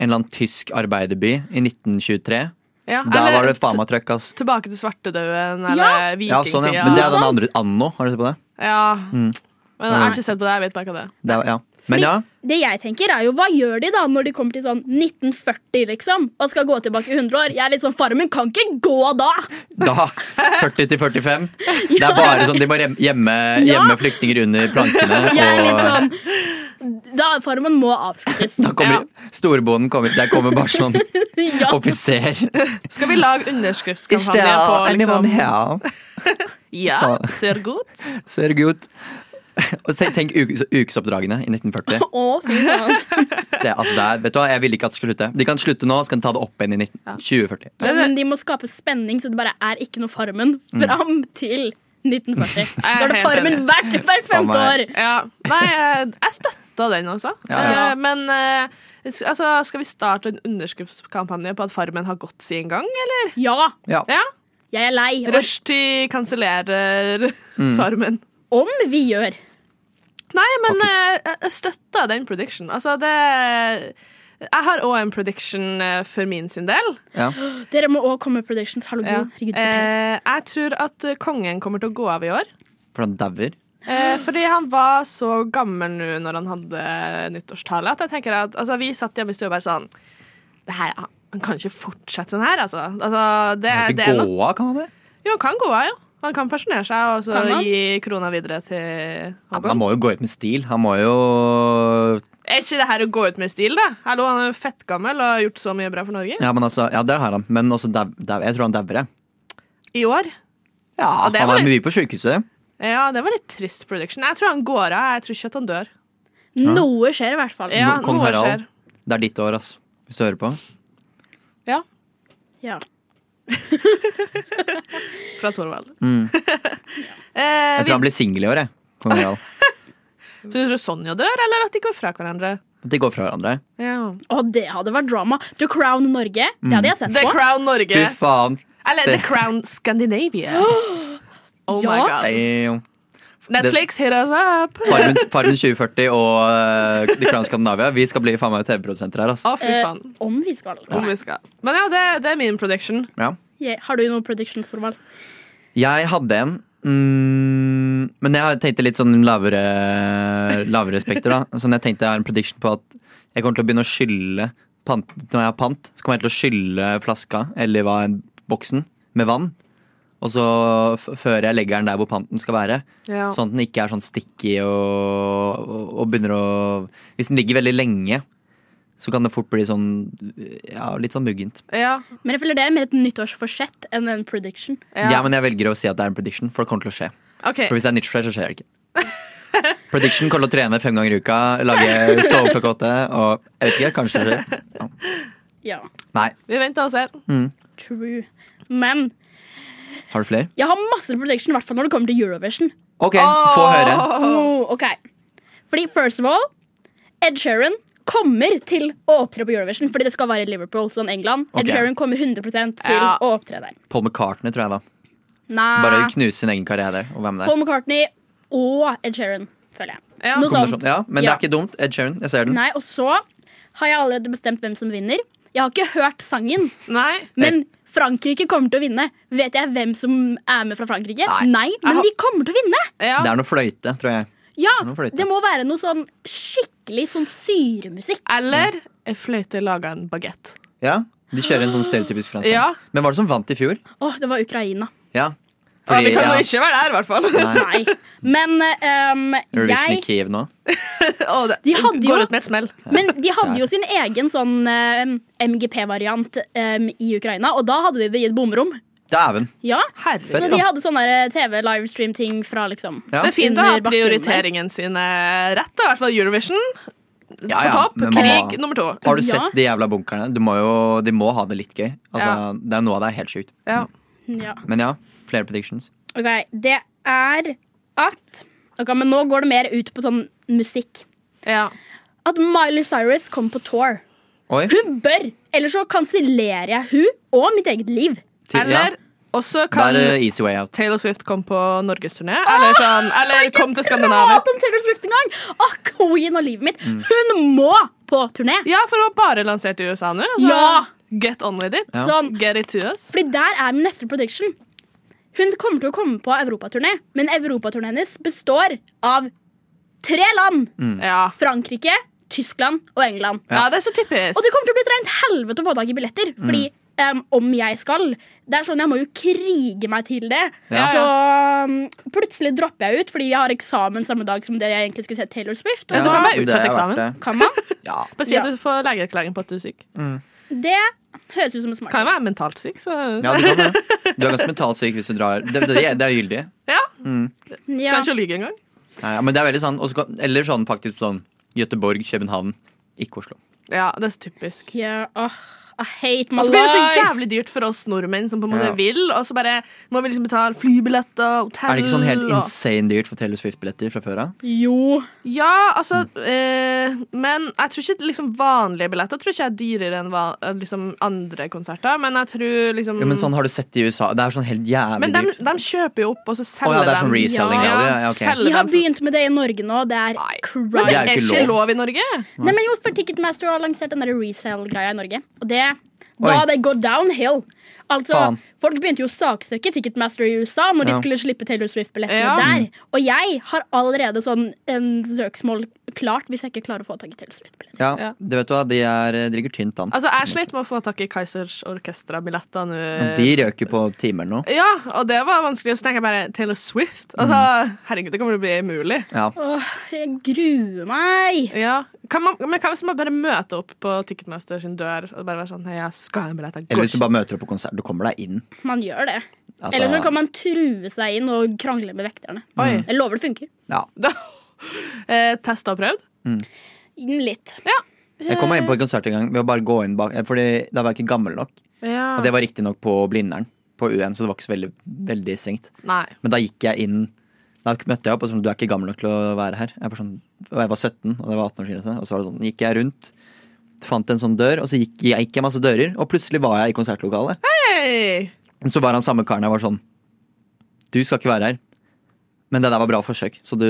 A: en eller annen tysk arbeiderby i 1923.
D: Ja,
A: Der
D: eller
A: var det faen meg trøkk, ass.
D: Tilbake til svartedauden eller
A: Ja, sånn,
D: vikingtida.
A: ja. Men det er den andre anno. Har du sett på det?
D: Ja,
A: Mm.
D: men jeg har ikke sett på det. Jeg vet bare hva det er.
A: det er, ja. Men ja.
F: Det jeg tenker er jo, Hva gjør de da når de kommer til sånn 1940 liksom, og skal gå tilbake 100 år? Jeg er litt sånn, Farmen kan ikke gå da!
A: Da, 40 til 45. Det er bare sånn, De må rem- gjemme,
F: Ja.
A: gjemme flyktninger under plankene.
F: Jeg er litt
A: Og
F: sånn, da, Farmen må avsluttes.
A: da kommer storbonden kommer, der kommer bare sånn
F: Ja.
A: offiser.
D: Skal vi lage
A: Is there
D: underskriftskampanje på
A: anyone
D: liksom
A: here?
D: Ja, ser godt.
A: Ser gut. Og se- tenk uke- ukesoppdragene i 1940.
F: Å, fy faen.
A: Det, altså, det er, vet du hva, Jeg ville ikke at det skulle slutte. De kan slutte nå, så kan de ta det opp igjen i 19 2040.
F: Ja, men de må skape spenning, så det bare er ikke noe Farmen
A: Mm.
F: fram til 1940. Da er det
D: helt
F: Farmen
D: enig.
F: hvert, hvert
D: Faen
F: femte år.
D: meg. Ja. Nei, jeg, jeg støtta den også.
F: Ja, ja.
D: Eh, Men eh, s- altså, skal vi starte en underskriftskampanje på at Farmen har gått sin gang, eller?
F: Ja.
A: Ja.
F: Jeg er lei.
D: Rushtid kansellerer Farmen.
F: Om vi gjør.
D: Nei, men eh, jeg- jeg støtta den prediction. Altså, det Jeg har òg en prediction eh, for min sin del.
A: Ja.
F: Dere må òg komme med predictions. Hallo,
D: Ja.
F: Gud. Herregud, fortell.
D: Eh, jeg tror at eh, kongen kommer til å gå av i år.
A: For han dauer.
D: Eh,
F: Mm.
D: fordi han var så gammel nå når han hadde nyttårstale, at jeg tenker at altså, vi satt hjemme i stua og bare sånn det her, han- Han kan ikke fortsette sånn her, altså. altså det,
A: Kan
D: det
A: ikke
D: er nok-
A: gå av, kan han det?
D: Jo, han kan gå av, jo. Han kan pensjonere seg og
F: Kan
D: så
F: han?
D: gi krona videre til
A: Han
D: Hongkong.
A: må jo gå ut med stil. Han må jo
D: Er ikke det her å gå ut med stil, da? Hallo, han er jo fettgammel og har gjort så mye bra for Norge.
A: Ja, men altså, ja det har han. Men også dau, dau, jeg tror han dauer. jeg.
D: I år.
A: Ja,
D: Og det
A: han var
D: var
A: mye
D: litt-
A: på sjukehuset.
D: Ja, det var litt trist prediction. Jeg tror han går av. Jeg tror ikke at han dør.
A: Ja.
F: Noe skjer i hvert fall.
D: Ja,
A: Kong
D: noe
A: Harald,
D: skjer.
A: det er ditt år, ass. Hvis du hører på.
D: Ja.
F: Ja.
D: Fra Torvald.
A: Mm.
D: Eh,
A: Jeg
D: vi,
A: tror han blir singel i år, jeg. Kong Harald.
D: Tror du Sonja dør, eller at de går fra hverandre?
A: At de går fra hverandre.
F: Å, det hadde vært drama. The Crown Norge. Det hadde jeg sett
D: Mm. The
F: på.
D: Crown Norge.
A: Fy faen.
D: Eller The
A: Det-
D: Crown Scandinavia. Oh my
F: Ja.
D: god.
A: Damn.
D: Netflix, hit us up!
A: Farmen, Farmen 2040 og eh, The Crown Scandinavia. Vi skal bli faen meg TV-produsenter her, ass.
D: Å, fy
F: Eh,
D: faen.
F: om vi skal.
D: Om vi skal. Men ja, det, det er min prediction.
A: Ja.
F: Yeah. Har du noen predictions, Torvald?
A: Jeg hadde en, mm, men jeg tenkte litt sånn lavere, lavere spekter. da Sånn Jeg tenkte jeg har en prediction på at jeg kommer til å begynne å skylle pant, Når jeg har pant, så kommer jeg til å skylle flaska eller hva enn boksen med vann. Og så f før jeg legger den der hvor panten skal være.
D: Ja.
A: Sånn at den ikke er sånn sticky og, og, og begynner å Hvis den ligger veldig lenge, så kan det fort bli sånn Ja, litt sånn muggent.
D: ja.
F: Men jeg føler det er mer et nyttårsforsett enn en prediction.
A: Ja. men jeg velger å si at det er en prediction, for det kommer til å skje.
D: OK.
A: For hvis det er nyttårsfest, så skjer det ikke. Prediction kommer til å trene fem ganger i uka, lage stå opp klokka åtte og jeg vet ikke, kanskje det skjer.
F: Ja,
A: Nei.
D: Vi venter og ser.
A: Mm,
F: true. Men
A: Har du flere?
F: jeg har masse prediction, i hvert fall når det kommer til Eurovision.
A: OK, få høre.
F: Oh, ok. Fordi first of all, Ed Sheeran kommer til å opptre på Eurovision, fordi det skal være i Liverpool, sånn England.
A: Ok.
F: Ed Sheeran kommer 100 til
D: Ja.
F: å opptre der.
A: Paul McCartney, tror jeg, da. Bare
F: Nei.
D: Ah.
A: knuse sin egen karriere og være med der.
F: Paul McCartney og Ed Sheeran, føler jeg.
D: Ja.
F: Noe
A: Kombinasjon.
F: sånt.
A: Ja, men det
F: Ja.
A: er ikke dumt. Ed Sheeran, jeg ser den.
F: Nei, og så har jeg allerede bestemt hvem som vinner. Jeg har ikke hørt sangen,
D: Nei.
F: men Frankrike kommer til å vinne. Vet jeg hvem som er med fra Frankrike?
A: Nei.
F: men de kommer til å vinne!
D: Ja.
A: Det er noe fløyte, tror jeg.
F: Ja,
A: Nå fløyte.
F: Det må være noe sånn skikkelig sånn syremusikk.
D: Eller ei fløyte laga en bagett.
A: Ja, De kjører en sånn stereotypisk fransk.
D: Ja.
A: Men var det som vant i fjor?
F: Åh, det var Ukraina.
A: Ja.
D: Ja, det kan
A: ja,
D: jo ikke være der, i hvert fall.
F: Nei. Men ehm,
A: Eurovision i
F: jeg
A: Kiev nå.
D: Å, det
F: De hadde jo-
D: går ut med et smell.
F: Men de hadde jo sin egen sånn MGP-variant ehm, i Ukraina, og da hadde de det i et bomrom.
A: Dæven.
F: Ja.
A: Fett,
F: Så
A: da.
F: de hadde sånn TV-livestream-ting fra liksom
A: Ja.
D: Det er fint å ha
F: Under bakken der.
D: prioriteringen sine rett, da, i hvert fall Eurovision.
A: Ja, ja,
D: På topp.
A: men man må-
D: Krig nummer to.
A: Har du
F: Ja.
A: sett de jævla bunkerne? Du må jo, de må ha det litt gøy. Altså,
D: Ja.
A: Det er noe av det er helt sjukt.
D: Ja.
F: Ja.
A: Men ja, flere predictions.
F: Ok, det er at Ok, men nå går det mer ut på sånn musikk.
D: Ja.
F: At Miley Cyrus kommer på tour.
A: Oi.
F: Hun bør! Eller så kansellerer jeg hun og mitt eget liv.
A: Til,
D: Eller også
A: ja,
D: kan
A: der eh, er easy way out.
D: Taylor Swift kom på norgesturné,
F: Ah,
D: eller, sånn, eller kom til Skandinavia. Mm.
F: Prat om Taylor Swift en gang! Åh, queen og livet mitt. Hun må på turné!
D: Ja, for hun har bare lansert i USA nå. så
F: Ja.
D: Get on with it.
A: Ja.
F: Sånn.
D: Get it to us.
F: Fordi der er min neste prediction. Hun kommer til å komme på europaturné, men europaturneen hennes består av tre land.
A: Mm.
D: Ja.
F: Frankrike, Tyskland og England.
D: Mm. ja, Mm. det er så typisk.
F: Og det kommer til å bli et rent helvete å få tak i billetter. Fordi em, om jeg skal Det er sånn Jeg må jo krige meg til det.
D: Ja.
F: Så em, plutselig dropper jeg ut fordi jeg har eksamen samme dag som det jeg egentlig skulle se Taylor Swift. Og
D: Ja, det
F: da
D: kan være
A: men
D: utsatt
A: er verdt
D: eksamen.
A: det.
F: kan man.
A: Ja.
D: Bare si at
F: Ja.
D: du får legeerklæring på at du er syk.
F: Det høres ut som en smart
D: Kan jo være mentalt syk, så
A: ja, du kan det. Du er ganske mentalt syk hvis du drar. Det, det, det er gyldig.
D: Ja.
F: Ja.
D: Trenger ikke å lyve engang.
A: Nei, ja, men det er veldig sånn, og så kan- Eller sånn faktisk sånn Gøteborg, København, ikke Oslo.
D: Ja, det er så typisk.
F: Ja, åh, I hate my
D: Og så blir det så
F: life.
D: jævlig dyrt for oss nordmenn som på en måte
A: Ja.
D: vil, og så bare må vi liksom betale flybilletter, hotell
A: Er det ikke sånn helt
D: og-
A: insane dyrt for Taylor Swift-billetter fra før av?
F: Jo.
D: Ja, altså eh, Men jeg tror ikke liksom vanlige billetter tror ikke jeg er dyrere enn van, eh, liksom andre konserter. Men jeg tror liksom
A: Jo, men sånn har du sett i USA. Det er sånn helt jævlig
D: Men de,
A: dyrt.
D: de kjøper jo opp, og så selger
A: ja, det er sånn
D: de.
A: reselling,
D: ja,
A: ja, det- ja, ok.
D: selger
F: De har
D: dem.
F: begynt med det i Norge nå. Det er
D: Men
F: crime.
A: Det
D: det
A: er
D: er
A: jo ikke
D: ikke
A: lov.
D: lov i Norge.
F: Nei, men jo, for Ticketmaster har lansert den der resale-greia i Norge. Og det, da
A: Oi.
F: det går downhill. Altså,
A: Faen.
F: Folk begynte jo å saksøke Ticketmaster i USA når de
A: Ja.
F: skulle slippe Taylor Swift-billettene
D: Ja.
F: der. Og jeg har allerede sånn en søksmål klart hvis jeg ikke klarer å få tak i Taylor Swift-billetter.
A: Ja,
D: Ja.
A: det vet du hva, de er, eh, drikker tynt vann.
D: Altså, jeg slet med å få tak i Kaizers Orkestra-billetter nå.
A: De røker på timer nå.
D: Ja, og det var vanskelig. Og så tenker jeg bare Taylor Swift.
A: Mm.
D: Altså, herregud, det kommer til å bli umulig.
A: Ja.
F: Åh, jeg gruer meg!
D: Ja. Kan man, men hva hvis man bare møter opp på Ticketmaster sin dør og bare være sånn Hei, jeg skal ha en billett. Jeg
A: Eller
D: går
A: hvis du
D: ikke.
A: bare møter opp på konsert. Du kommer deg inn.
F: Man gjør det.
A: Altså-
F: Eller så kan man true seg inn og krangle med vekterne.
D: Oi.
F: Jeg lover det funker.
A: Ja.
D: Da, eh, testa og prøvd?
F: Litt.
A: Jeg kom meg inn på en konsert en gang ved å bare gå inn bak eh, Fordi da var jeg ikke gammel nok.
D: Ja.
A: Og det var riktignok på Blindern, på U1, så det var ikke så veldig, veldig strengt.
D: Nei.
A: Men da gikk jeg inn Da møtte jeg opp og sånn, du er ikke gammel nok til å være her. Jeg, bare sånn, og jeg var 17, og det var 18-årsgrense. Og så var det sånn, gikk jeg rundt, fant en sånn dør, og så gikk, gikk jeg masse dører, og plutselig var jeg i konsertlokalet.
D: Hei!
A: Men så var han samme karen jeg var sånn Du skal ikke være her. Men det der var bra forsøk, så du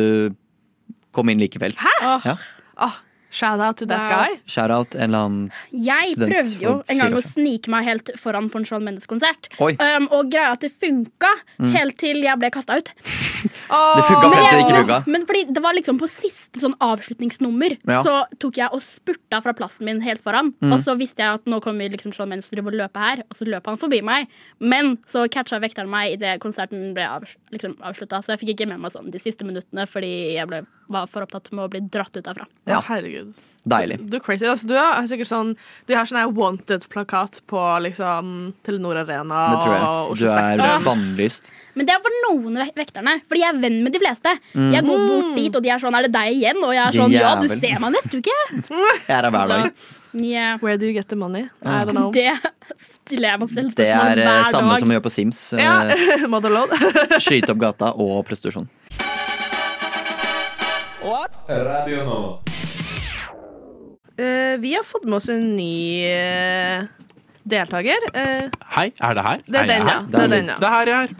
A: kom inn likevel.
F: Åh,
A: Ja.
D: Ah, Shout out to
F: Wow.
D: that guy.
A: Shout-out en eller annen
F: Jeg
A: Student
F: prøvde jo
A: for
F: en gang
A: fire
F: å
A: år
F: snike meg helt foran på en Shawn Mendes-konsert.
A: Oi.
F: Um, og greia at det funka helt til jeg ble kasta ut.
A: Det funka
F: Men,
A: frem Mm. til det ikke
F: jeg,
A: funka.
F: men fordi det var liksom på siste sånn avslutningsnummer
A: Ja. Mm.
F: så tok jeg og spurta fra plassen min helt foran. Og så visste jeg at nå kommer liksom Shawn Mendes til å løpe her, og så løp han forbi meg. Men så catcha vekteren meg idet konserten ble avs liksom avslutta, så jeg fikk ikke med meg sånn de siste minuttene fordi jeg ble, var for opptatt med å bli dratt ut derfra.
A: Ja.
D: Å, herregud.
A: Deilig.
D: Du er crazy. Altså, du er sikkert sånn De har sånn her Wanted-plakat på liksom Telenor Arena
A: Det tror
D: og
A: jeg. Du
D: Oslo
A: er
D: Spektrum.
A: bannlyst.
F: Men det var noen ve- vekterne, fordi jeg er venn med de fleste. Jeg går bort dit, og de er sånn 'Er det deg igjen?' Og jeg er
A: Din
F: sånn 'Ja, du
A: Mm. jævel.»
F: ser meg neste uke'.
A: Jeg er her hver dag.
F: Nja.
D: Where do you get the money? I don't know.
F: Det stiller jeg meg selv
A: Det
F: spørsmål
A: er
F: hver
A: eh,
F: dag.
A: samme som å gjøre på Sims. eh,
D: Ja, Motherload.
A: Skyte opp gata og prostitusjon.
E: Radio Nova.
D: Eh, vi har fått med oss en ny eh, deltaker. Eh,
K: Hei, er det her?
D: det er
K: jeg
D: den, ja.
K: her?
D: Det er den,
K: Det
D: ja.
K: er her jeg er.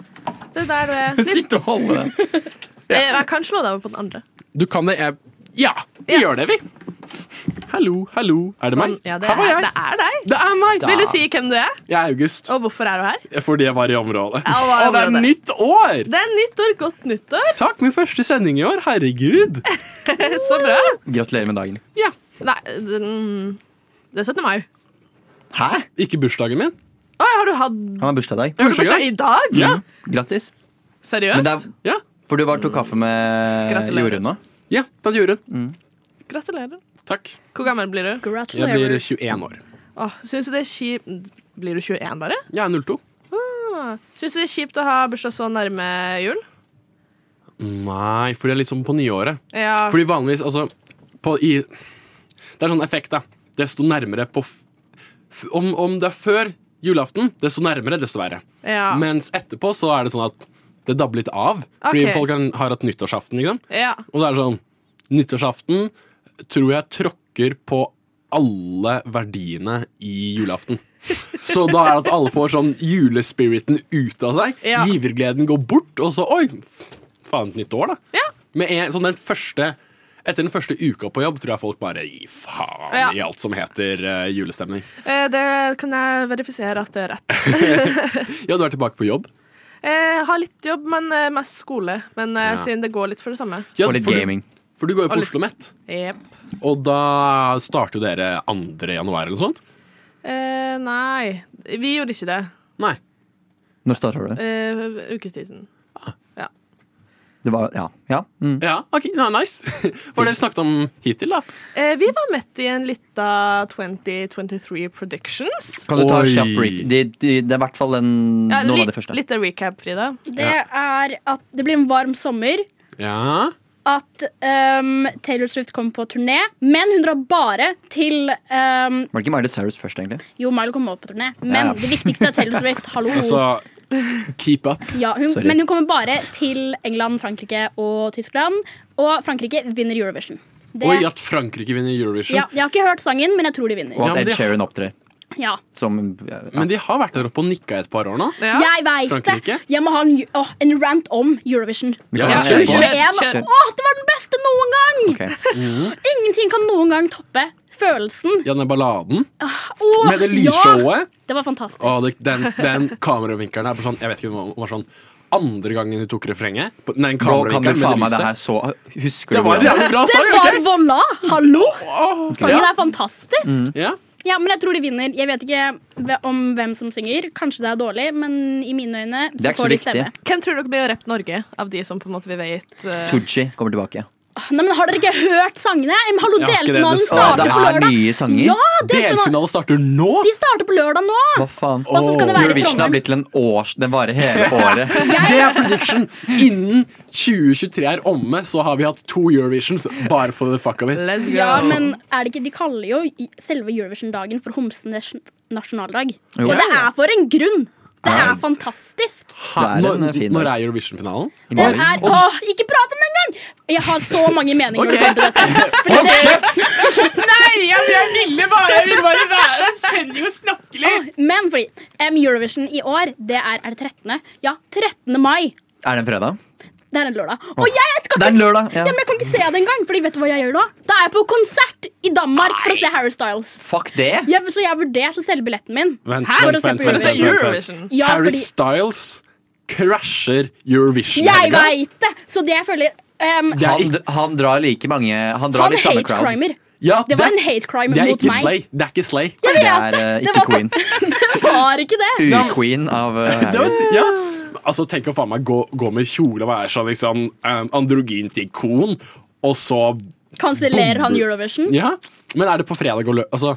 D: Det der du er.
K: Jeg sitter og holder den.
D: Eh, jeg kan slå deg over på den andre.
K: Du kan det, jeg Ja, vi gjør det, vi. Hallo, hallo. Er det
D: Sånn.
K: meg?
D: Ja, det
K: her var
D: er,
K: jeg.
D: det er deg.
K: Det er meg!
D: Vil du si hvem du er,
K: Jeg er August.
D: og hvorfor er du her?
K: Fordi jeg var i området.
D: Ja, var i
K: Og det er
D: området.
K: nytt år!
D: Det er nyttår. Godt nyttår.
K: Takk, min første sending i år. Herregud.
D: Så bra.
A: Gratulerer med dagen.
K: Ja.
D: Nei, den- det er 17. mai.
K: Hæ? Ikke bursdagen min?
D: Å, har du hatt
A: Han har bursdag i dag.
K: Jeg
D: har du bursdag i dag? Mm.
K: Ja.
A: Grattis. Men
D: Seriøst?
A: det er,
K: ja.
A: for du var og tok kaffe med
D: Gratulerer.
A: Jorunn nå?
K: Ja, på
D: Mm.
K: Jorunn.
D: Gratulerer.
K: Takk.
D: Hvor gammel blir du?
K: Jeg blir
F: Gratulerer.
K: 21 år.
D: Åh, syns du det er kjipt Blir du 21 bare?
K: Jeg er 02.
D: Ah. Syns du det er kjipt å ha bursdag så nærme jul?
K: Nei, fordi jeg er liksom på nyåret.
D: Ja.
K: Fordi vanligvis, altså på, i, Det er sånn effekt, da. Desto nærmere på f f om, om det er før julaften, desto nærmere, desto verre.
D: ja.
K: Mens etterpå så er det sånn at det dabber litt av. Fordi
D: Ok.
K: folk har, har hatt nyttårsaften, liksom.
D: ja.
K: Og det er sånn Nyttårsaften tror jeg tråkker på alle verdiene i julaften. Så da er det at alle får sånn julespiriten ut av seg.
D: Ja.
K: Givergleden går bort, og så Oi, f- faen, et nytt år, da.
D: Ja.
K: Med en, sånn den første etter den første uka på jobb tror jeg folk bare gir faen
D: Ja.
K: i alt som heter eh, julestemning.
D: Eh, Det kan jeg verifisere at det er rett.
K: Ja, du er tilbake på jobb?
D: Jeg har litt jobb, men eh, mest skole. Men eh, siden det går litt for det samme.
K: Ja,
A: Og litt
K: for du-
A: gaming.
K: For du går jo
D: Og
K: på
D: litt-
K: Oslo Met,
D: Jep.
K: og da starter jo dere 2. januar eller noe sånt?
D: Eh, nei, vi gjorde ikke det.
K: Nei.
A: Når starter du?
D: Eh, ukestisen.
A: Det var, ja. ja. Mm.
K: Ja, ok, ja, nice. Hva har dere snakket om hittil, da?
D: Eh, vi var mett i en lita 2023 predictions.
A: Kan du ta
K: Oi.
A: kjapp re- de, de, Det er i hvert fall en,
D: Ja,
A: noen
D: litt-
A: av de første.
D: Litt av recap, Frida.
F: Det er at det blir en varm sommer.
K: Ja.
F: At um, Taylor Swift kommer på turné, men hun drar bare til um,
A: Var det ikke Miley Cyrus først, egentlig?
F: Jo, Miley kommer også på turné, men
A: Ja.
F: det viktigste er Taylor Swift. Hallo.
K: Altså, keep up.
F: Ja, hun,
A: Sorry.
F: men hun kommer bare til England, Frankrike og Tyskland. Og Frankrike vinner Eurovision. Det,
K: Oi, at Frankrike vinner Eurovision.
F: ja, jeg har ikke hørt sangen, men jeg tror de vinner.
A: Og
K: Ja,
A: at
K: men
A: Ed
K: de-
A: Sheeran opptrer.
F: Ja.
A: Som ja, ja.
K: Men de har vært der oppe og nikka i et par år nå.
D: Ja.
F: Jeg veit det!
K: Frankrike?
F: Jeg må ha en, åh, en rant om Eurovision.
A: Vi kan
K: Ja,
A: kjøre på.
F: 21.
A: Kjør.
F: Åh, det var den beste noen gang!
A: Ok.
F: Ingenting kan noen gang toppe følelsen.
K: Ja, den balladen
F: Åh,
K: med det lysshowet.
F: Ja, det var fantastisk.
K: Og det, den, den kameravinkelen er bare sånn Jeg vet ikke, det var sånn andre gangen hun tok refrenget. på-
A: Bro,
K: Nei,
A: kan du
K: kameravinkelen
A: faen meg
K: med
A: det
K: det
A: her
K: lyset.
A: så Husker du
K: Det var en
A: hvordan
K: jævlig bra
F: det
K: sang!
F: var
K: ikke?
F: voila! Hallo!
K: Åh,
F: Sangen
K: ja. Mm.
F: er fantastisk.
K: Ja.
F: Ja, men jeg tror de vinner. Jeg vet ikke hve- om hvem som synger. Kanskje det er dårlig, men i mine øyne
A: Det er ikke så
F: så får de
A: viktig.
F: stemme.
D: Hvem tror dere blir å rappe Norge, av de som på en måte vi vet eh,
A: Tooji kommer tilbake.
F: Åh, Nei, men Har dere ikke hørt sangene? Men hallo,
K: Jeg har ikke det,
F: Delfinalen
K: dessverre.
A: det
F: starter på
A: er
F: lørdag.
A: nye sanger.
F: Ja, delfinalen.
K: Delfinale starter nå!
F: De starter på lørdag nå.
A: Hva faen?
F: Og så Altså, skal det være i
A: Eurovision har
F: Trondheim.
A: blitt til en års Den varer hele året.
K: Det er prediction! Innen 2023 er omme, så har vi hatt to Eurovisions bare for the fuck of it.
D: Let's go.
F: Ja, men er det ikke, De kaller jo i- selve Eurovision-dagen for homsenes nasjonaldag.
A: Jo.
F: Og det er for en grunn! Det
A: Ja.
F: er fantastisk.
K: Ha,
A: Det er en
K: når,
A: fin
K: når
A: dag.
K: er Eurovision-finalen?
A: I
F: Den
A: morgen.
F: er, åh, ikke prat om den engang! Jeg har så mange meninger. når det kommer til dette.
D: Nei, jeg, jeg ville bare Jeg ville bare være en sending og snakke litt!
F: Men fordi em, Eurovision i år, det er, er det 13. Ja, 13. mai.
A: Er det en fredag?
F: Det er en lørdag. Og jeg, jeg skal
A: Det er
F: ikke,
A: en lørdag, ja.
F: Ja, men jeg kan ikke se det engang, Fordi vet du hva jeg gjør da? Da er jeg på konsert i Danmark for å se Harry Styles.
A: Fuck det!
F: Jeg, så jeg har vurdert å selge billetten min.
K: Vent,
F: Hæ? For å
K: vent,
F: se
K: vent,
F: på
K: vent, vent,
F: Eurovision.
K: vent, vent.
F: Ja,
K: Harry
F: fordi-
K: Styles crasher Eurovision.
F: Jeg
K: Helga.
F: veit det! Så det jeg føler um,
A: Han, han drar like mange Han drar
F: Han
A: litt samme
F: hate
A: crowd.
F: crimer.
K: Ja,
F: Det var en hate crime
K: det er
F: mot
K: ikke
F: meg.
K: Slay. Det er ikke Slay.
F: Jeg
A: Det
F: vet
A: er
F: det!
A: eh,
F: Det
A: ikke
F: var,
A: queen.
F: det var ikke det!
A: Ur-queen av eh,
K: Det
A: Harry.
K: var- ja. Altså, tenk å faen meg gå, gå med kjole og være sånn liksom, um, androgynt ikon, og så
F: Kansellerer han
K: Bombe.
F: Eurovision?
K: Ja, Men er det på fredag og lørdag? Altså,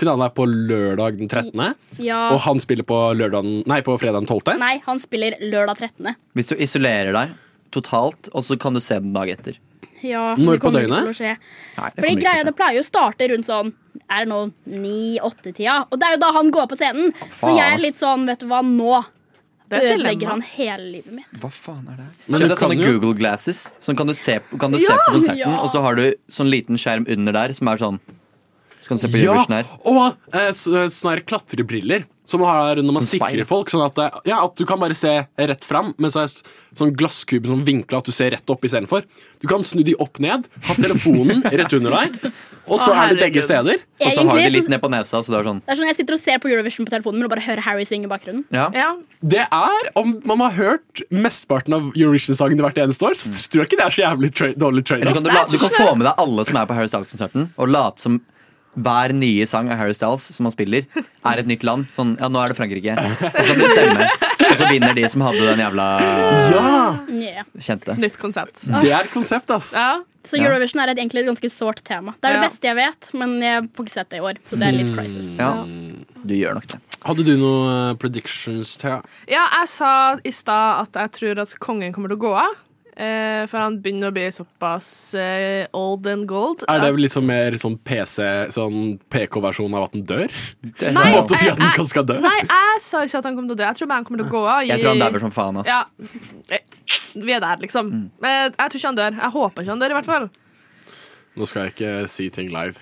K: finalen er på lørdag den 13.,
F: Ja.
K: og han spiller på, lørdagen, nei, på fredag den 12.?
F: Nei, han spiller lørdag 13.
A: Hvis du isolerer deg totalt, og så kan du se den dag etter.
F: Ja,
K: Når
F: det
K: på
F: kommer ikke til
K: døgnet?
F: å skje.
A: Nei, det
F: Fordi
A: kommer ikke til
F: greia,
A: å
F: Det pleier jo å starte rundt sånn Er det nå ni-åtte-tida? Og det er jo da han går på scenen. Så
A: Faen,
F: jeg er
A: ass.
F: litt sånn, vet du hva, nå
D: er et
F: ødelegger
D: dilemma.
F: han hele livet mitt.
A: skje. Hva faen er det her?
K: Men
A: Kjøp
K: du
A: deg
K: kan
A: sånne
K: jo-
A: Google Glasses, sånn kan du se, kan du se på konserten,
F: ja.
A: og så har du sånn liten skjerm under der som er sånn Så kan du se på
K: Ja,
A: Eurovision her.
K: og eh, s- eh, sånne her klatrebriller som man har når man
A: Sånn speil.
K: sikrer folk. Sånn at, eh, ja, at du kan bare se rett fram, men så er s- sånn glasskube som vinkla at du ser rett opp istedenfor. Du kan snu de opp ned, ha telefonen rett under deg, og så
D: Å,
K: er det begge steder.
A: Og så har du det
F: Egentlig
A: litt
F: så,
A: ned på nesa, så det er sånn
F: det er sånn Jeg sitter og ser på Eurovision på telefonen min og bare hører Harry synge i bakgrunnen.
A: Ja.
D: Ja.
K: Det er, Om man har hørt mesteparten av Eurovision-sangene hvert eneste år, så tror jeg ikke det er så jævlig tra dårlig
A: Eller så
K: trade-off.
A: kan du, la, du kan få med deg alle som er på Harry Styles-konserten, og late som hver nye sang av Harry Styles som han spiller, er et nytt land. Sånn, ja, nå er det Frankrike. Og så det stemmer. Og så vinner de som hadde den jævla
K: Ja,
F: Yeah.
A: kjente.
D: Nytt konsept.
K: det er et konsept, ass.
D: Ja.
F: Så
A: Ja.
F: Eurovision er et, egentlig et ganske sårt tema. Det er
D: Ja.
F: det beste jeg vet, men jeg får ikke sett det i år. Så det er litt crisis.
A: Mm. Ja, du gjør nok det.
K: Hadde du noen predictions, Thea?
D: ja, jeg sa i stad at jeg tror at kongen kommer til å gå av. eh, For han begynner å bli såpass eh, old and gold.
K: Er det liksom mer sånn PC, sånn PK-versjon av at den dør?
A: det
K: På en
D: Nei.
K: måte å si at den
D: jeg-
K: kanskje skal dø?
D: Nei, jeg sa ikke at han kom til å dø. Jeg tror bare han kommer til å gå av. i-
A: Jeg tror han dauer som faen, Mm. ass.
D: Ja. Eh, Vi er der, liksom. Eh, Jeg tror ikke han dør. Jeg håper ikke han dør, i hvert fall.
K: Nå skal jeg ikke si ting live.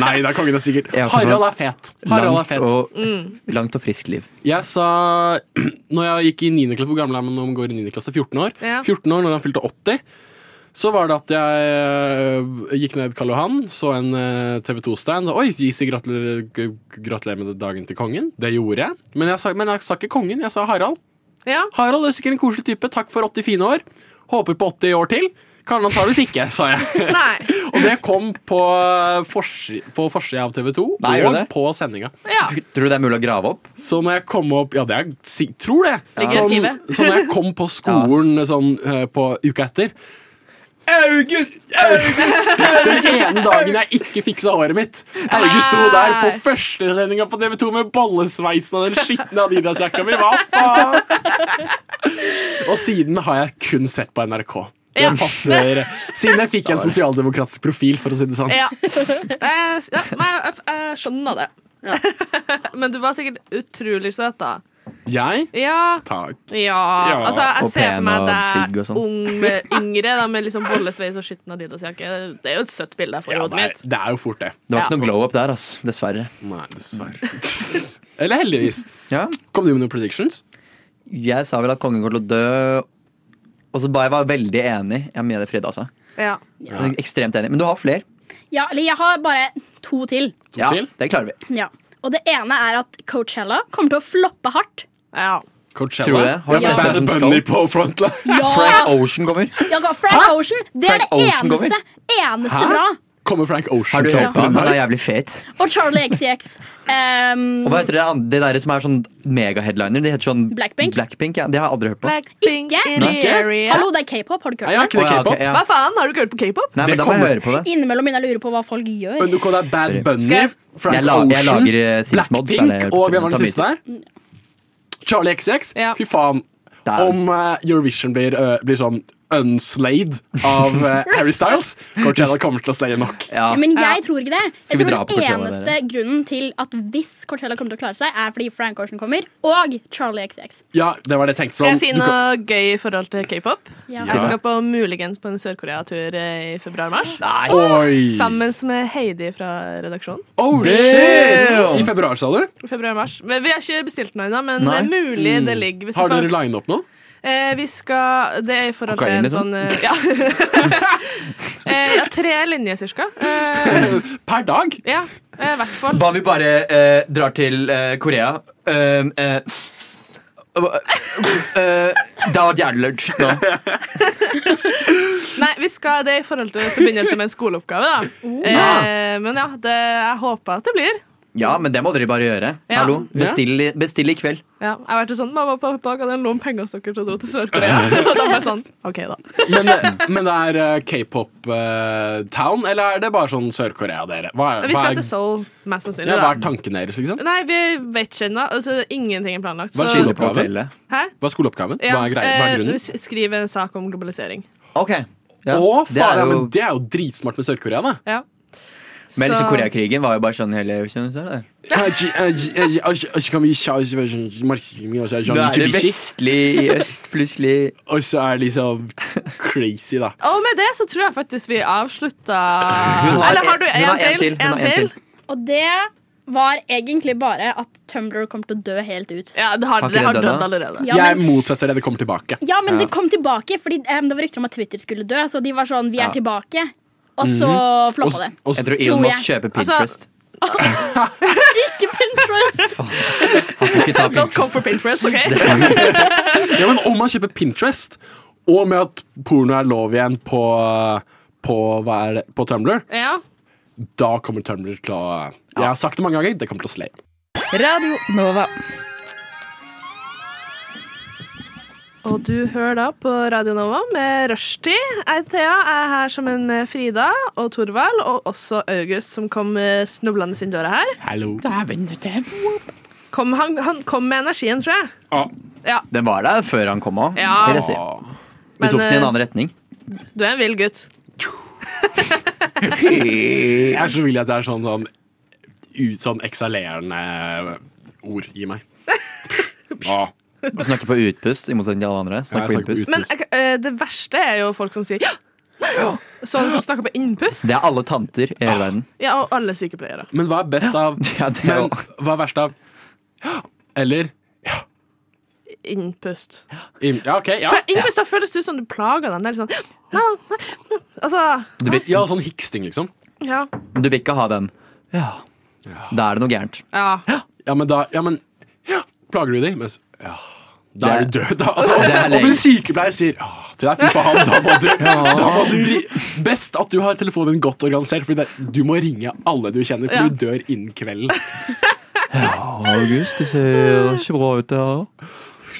K: Nei, det er kongen er sikkert.
A: Ja,
K: Harald er fet. Harald er
A: Langt
K: fet.
A: og, langt og friskt liv.
K: Jeg sa Når jeg gikk i 9. klasse, hvor gammel er man når man går i 9. klasse? 14 år?
D: Ja.
K: 14 år, når han fylte 80 så var det at jeg øh, gikk ned Karl Johan, så en eh, TV 2-stand. Oi, Gizi, gratulerer, g- gratulerer med dagen til kongen. Det gjorde jeg. Men jeg, sa, men jeg sa ikke kongen, jeg sa Harald.
D: Ja.
K: Harald er sikkert en koselig type. Takk for 80 fine år. Håper på 80 år til. Kan antakeligvis ikke, sa jeg.
D: Nei.
K: Og det kom på eh, forsi- på forsida av TV 2
A: Nei, gjorde
K: og
A: det?
K: på sendinga.
D: Ja.
A: Tror du det er mulig å grave opp?
K: Så når jeg kom opp Ja, det er, si- tror det.
D: Ligger i
K: Sånn,
D: arkivet.
K: så når jeg kom på skolen sånn, eh, på uka etter August! August! Den ene dagen jeg ikke fiksa håret mitt. August sto der på førstesendinga på TV2 med bollesveisen og den skitne Adidas-jakka mi. Hva faen? Og siden har jeg kun sett på NRK. Det
D: Ja.
K: passer. Siden jeg fikk en sosialdemokratisk profil, for å si det sånn.
D: Ja. Eh, s- ja nei, jeg, jeg skjønner det. Men du var sikkert utrolig søt, da.
K: Jeg?
D: Ja.
K: Takk.
D: Ja,
K: Ja,
D: altså
A: og
D: Jeg ser for
A: pen
D: meg
A: og
D: deg
A: digg og sånn.
D: ung med yngre da, med liksom bollesveis og skitten Adidas-jakke. Det er jo et søtt bilde jeg får i
K: Ja,
D: hodet
K: det er,
D: mitt.
K: det er jo fort, det.
A: Det var ikke
D: Ja.
A: noe glow up der, ass. Dessverre.
K: Nei, dessverre. Eller heldigvis.
A: Ja.
K: Kom du med noen predictions?
A: Jeg sa vel at kongen kommer til å dø, og så ba jeg var veldig enig. Jeg er med deg, Frida, altså.
D: Ja.
A: Jeg er Ekstremt enig. Men du har flere.
F: Ja, eller jeg har bare to til.
K: To
A: Ja,
K: til?
A: det klarer vi.
F: Ja. Og det ene er at Coachella kommer til å floppe hardt.
D: ja.
K: Coachella?
A: Tror du det? Har du
K: ja.
A: sett hvem
K: Bad
A: som skal?
K: Bunny på frontline?
F: Ja,
A: Frank Ocean kommer.
F: ja Frank Ocean! Det er
A: Frank
F: det
A: Ocean
F: eneste,
A: kommer?
F: eneste
K: Hæ?
F: bra.
K: Kommer Frank
A: Har
K: Ocean
A: du
K: til
A: hørt på ham?
K: åpne
A: Han er
K: der?
A: jævlig fet.
F: Og Charlie XCX. Um,
A: Og hva heter det, andre- det der som er sånn megaheadliner? Det heter sånn
F: Blackpink?
A: ja. Det har jeg aldri hørt på.
D: Blackpink
F: Ikke?
D: in the
K: Ikke?
D: area.
F: Hallo, det er k-pop. Har du ikke
K: Nei, jeg har
F: hørt det?
K: ikke det
A: Å, ja,
K: k-pop.
A: ok, ja.
D: Hva faen? Har du ikke hørt på k-pop?
A: Nei,
K: Det
A: men da må jeg
K: kommer.
A: høre på det.
F: Innimellom begynner jeg å lure på hva folk gjør.
K: Men du, det er Bad
A: Sorry.
K: Bunny,
D: Skal jeg-
K: Frank
A: Jeg la- jeg
K: Ocean,
A: lager, eh, Six Mods, er det
K: Blackpink
A: jeg
K: og
A: hørte.
K: hvem var den
A: Ta
K: siste der? Charlie XX?
D: Ja.
K: Fy faen.
A: Der.
K: Om eh, Eurovision blir, eh, blir sånn unslayed av eh, Harry Styles, Coachella kommer til å slaye nok.
A: Ja.
F: Ja, Men jeg tror ikke det.
A: Skal
F: Jeg
A: vi
F: tror
A: dra på
F: den
A: Coachella,
F: eneste grunnen til at hvis Coachella kommer til å klare seg, er fordi Frank Ocean kommer, og Charlie XX.
K: Ja, det var det jeg tenkte
D: Skal jeg
K: sånn.
D: si
K: du kan-
D: noe gøy i forhold til k-pop?
F: Ja.
D: Jeg skal på muligens på en Sør-Korea-tur eh, i februar-mars.
K: Oi!
D: Sammen med Heidi fra redaksjonen.
K: Oh,
A: Damn!
K: shit! I februar, sa du?
D: Februar-mars. Men Vi har ikke bestilt noe ennå, men det
A: Nei.
D: er mulig det ligger. Hvis vi
K: Mm. Har
D: får-
K: dere line opp nå?
D: Eh, vi skal Det er i forhold til
K: Kokain,
D: en
K: liksom?
D: sånn eh, ja. eh, ja, tre linjer cirka. Eh,
K: Per dag?
D: ja, eh, i hvert fall.
A: Hva om vi bare eh, drar til eh, Korea? Eh, eh, eh, det har vært jævlig lurt nå.
D: Nei, vi skal det er i forhold til forbindelse med en skoleoppgave, da. Eh, men ja, det, jeg håper at det blir.
A: Ja, men det må dere bare gjøre.
D: Ja.
A: Hallo,
D: Ja.
A: bestill, i- bestill i kveld.
D: Ja, jeg har vært sånn, Mamma og pappa, kan jeg låne penger hos dere til å dra til Sør-Korea? Og da bare sånn, OK, da.
K: Men, eh, men det er eh, K-pop-town, eller er det bare sånn Sør-Korea, dere? Hva er,
D: Vi
K: hva
D: skal
K: er,
D: til Seoul, mest sannsynlig.
K: ja, hva er
D: da.
K: tanken deres, liksom?
D: Nei, vi vet ikke ennå. Altså, ingenting er planlagt.
K: Hva er
D: så-
K: skoleoppgaven?
D: Hæ?
K: Hva er skoleoppgaven? Hva er, greia? Hva
D: eh,
K: er grunnen?
D: s- Skriv en sak om globalisering.
K: Å,
A: Det er
K: faen, ja, men
A: jo-
K: det er jo dritsmart med Sør-Korea, da.
D: Ja.
A: Men
K: Så-
A: liksom Koreakrigen var jo bare sånn hele kjennes det, eller?
K: Nå
A: Nå er det vestlig i øst, plutselig.
K: Og så er det liksom crazy, da.
D: Og med det så tror jeg faktisk vi avslutta
K: Hun har
D: Eller har
K: en-
D: du
K: hun har en
D: en
K: til,
D: til?
K: hun har en til.
F: Og det var egentlig bare at Tumblr kommer til å dø helt ut.
D: Ja, det
K: Har ikke det det har dødd dødd da? allerede.
F: Ja,
K: Jeg
F: men,
K: motsetter det. Det kommer tilbake.
F: ja, men det kom tilbake, fordi eh, det var rykter om at Twitter skulle dø. Så de var sånn 'vi er
K: Ja.
F: tilbake', og så
K: Mhm.
F: floppa
K: Og
F: det.
K: s- og s- Jeg tror Elon Musk
F: jeg.
A: kjøper
D: Altså,
A: Pinterest.
F: ikke Pinterest!
D: Don't come for Pinterest, OK?
K: Ja, men om man kjøper Pinterest, og med at porno er lov igjen på, på, hva er det, på Tumblr,
D: ja.
K: da kommer Tumblr til å Jeg har sagt det mange ganger, det kommer til å slay.
D: Radio Nova. Og du hører da på Radio Nova med Rushtid. Jeg, Thea, er her sammen med Frida og Torvald, og også August, som kom eh, snublende inn døra her.
K: Hallo.
D: Kom, han, han kom med energien, tror jeg. Ja.
A: Den var der før han kom òg,
D: Ja.
A: vil jeg si. Vi
D: Men,
A: tok den i
D: eh,
A: en annen retning.
D: Du er en vill gutt.
K: Jeg er så villig at det er sånn, sånn, ut, sånn eksalerende ord i meg. Ja.
A: Du snakker på utpust, i motsetning til alle andre.
K: Ja,
A: Snakker
K: jeg
A: på
K: snakker på
A: innpust.
D: Men eh, det verste er jo folk som sier ja! Sånn som snakker på innpust.
A: Det er alle tanter i hele verden.
D: Ja, og alle sykepleiere.
K: Men hva er best av
A: er
K: Men hva er verst av Eller
D: Innpust.
K: im- Ja, OK. Ja.
D: For innpust, da føles det ut som du plager dem. Det er litt sånn ja, ja, Altså
K: Du vet- ja, sånn hiksting, liksom.
D: Ja.
A: Men du vil ikke ha den. Ja. Da er det noe gærent.
D: Ja.
K: Ja, men da ja, men, ja, Plager du de? Mens, ja, da er
A: Det-
K: du død. Da, altså,
A: Det er
K: om,
A: lenge.
K: om en sykepleier sier «Åh, til deg, fy faen, da må du, da må du ri- Best at du har telefonen din godt organisert, for du må ringe alle du kjenner, for
D: Ja.
K: du dør innen kvelden.
A: August, det ser ikke bra ut, det her.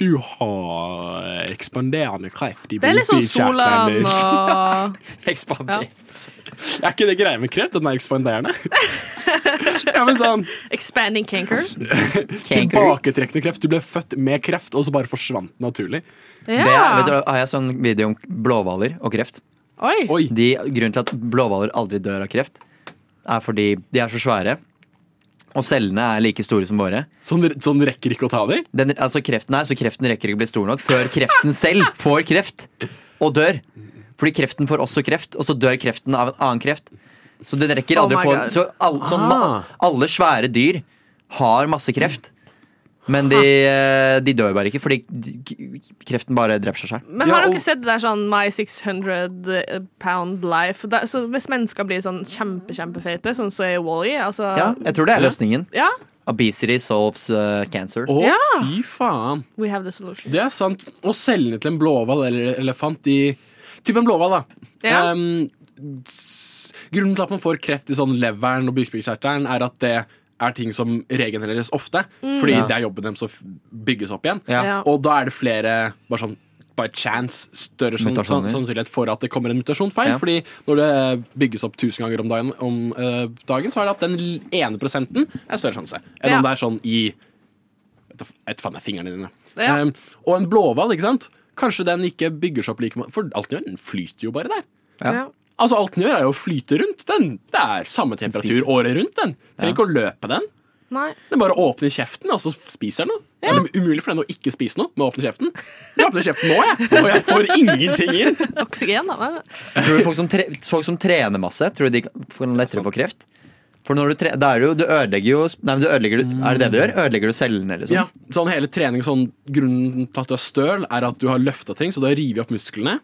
K: Du har ekspanderende kreft i
D: Det er litt sånn Solan og
A: Ekspander.
K: Er ikke det greia med kreft? At den er ekspanderende? ja, men sånn
D: Expanding canker.
K: Tilbaketrekkende kreft. Du ble født med kreft, og så bare forsvant den naturlig.
A: Det er, vet du, har jeg sånn video om blåhvaler og kreft.
D: Oi.
A: De, grunnen til at blåhvaler aldri dør av kreft, er fordi de er så svære. Og cellene er like store som våre.
K: Sånn, sånn rekker ikke å ta dem?
A: Den, altså kreften er, så kreften rekker ikke å bli stor nok før kreften selv får kreft og dør. Fordi kreften får også kreft, og så dør kreften av en annen kreft. Så den rekker
K: Oh
A: aldri
K: my
A: å få
K: God.
A: Så alle, sånn, ma- alle svære dyr har masse kreft. Men de, eh, de dør bare ikke, fordi de- kreften bare dreper seg selv.
D: Men har dere sett det der sånn My 600 pound life? Det, så hvis mennesker blir sånn kjempe, kjempefeite, sånn så er Wally altså,
A: Ja, jeg tror det er løsningen.
D: Ja.
A: Obesity solves eh, cancer.
K: Å,
D: Ja.
K: fy faen.
D: We have the solution.
K: Det er sant. Og cellene til en blåhval eller elefant de Typ en blåhval, da.
D: Ja.
K: Ehm, s- grunnen til at man får kreft i sånn leveren og bukspyttkjertelen, er at det er ting som regenereres ofte.
I: Mm.
K: Fordi
I: Ja.
K: det er jobben deres å f- bygges opp igjen.
I: Ja. Ja.
K: Og da er det flere bare sånn by chance større sann-
I: Mutasjoner.
K: sann- sannsynlighet for at det kommer en mutasjonfeil.
I: Ja.
K: Fordi når det bygges opp 1000 ganger om dagen, om, eh, dagen så er det at den l- ene prosenten er større sjanse enn om det
I: Ja.
K: er sånn i Vet du- vet faen, det er fingrene dine.
I: Ja.
K: Um, og en blåhval, ikke sant? Kanskje den ikke bygger seg opp like mye For alt den gjør, den flyter jo bare der.
A: Ja. Ja.
K: Altså, alt den gjør, er jo å flyte rundt. Den. Det er samme temperatur året rundt, den. Trenger ikke å løpe den.
D: Nei.
K: Den bare åpner kjeften, og så spiser den noe. Det Er det umulig for den å ikke spise noe med å åpne kjeften? Jeg åpner kjeften nå, jeg, og jeg får ingenting inn.
D: Oksygen, da. hva er det?
A: Tror du folk som, tre, folk som trener masse, tror du de kan- får lettere få kreft? For når du, tre da er det jo, du ødelegger jo Nei, men du ødelegger, Er det det du gjør? Ødelegger du cellene, liksom?
K: Ja, sånn hele trening sånn, Grunnen til at du er støl, er at du har løfta ting, så du har revet opp musklene.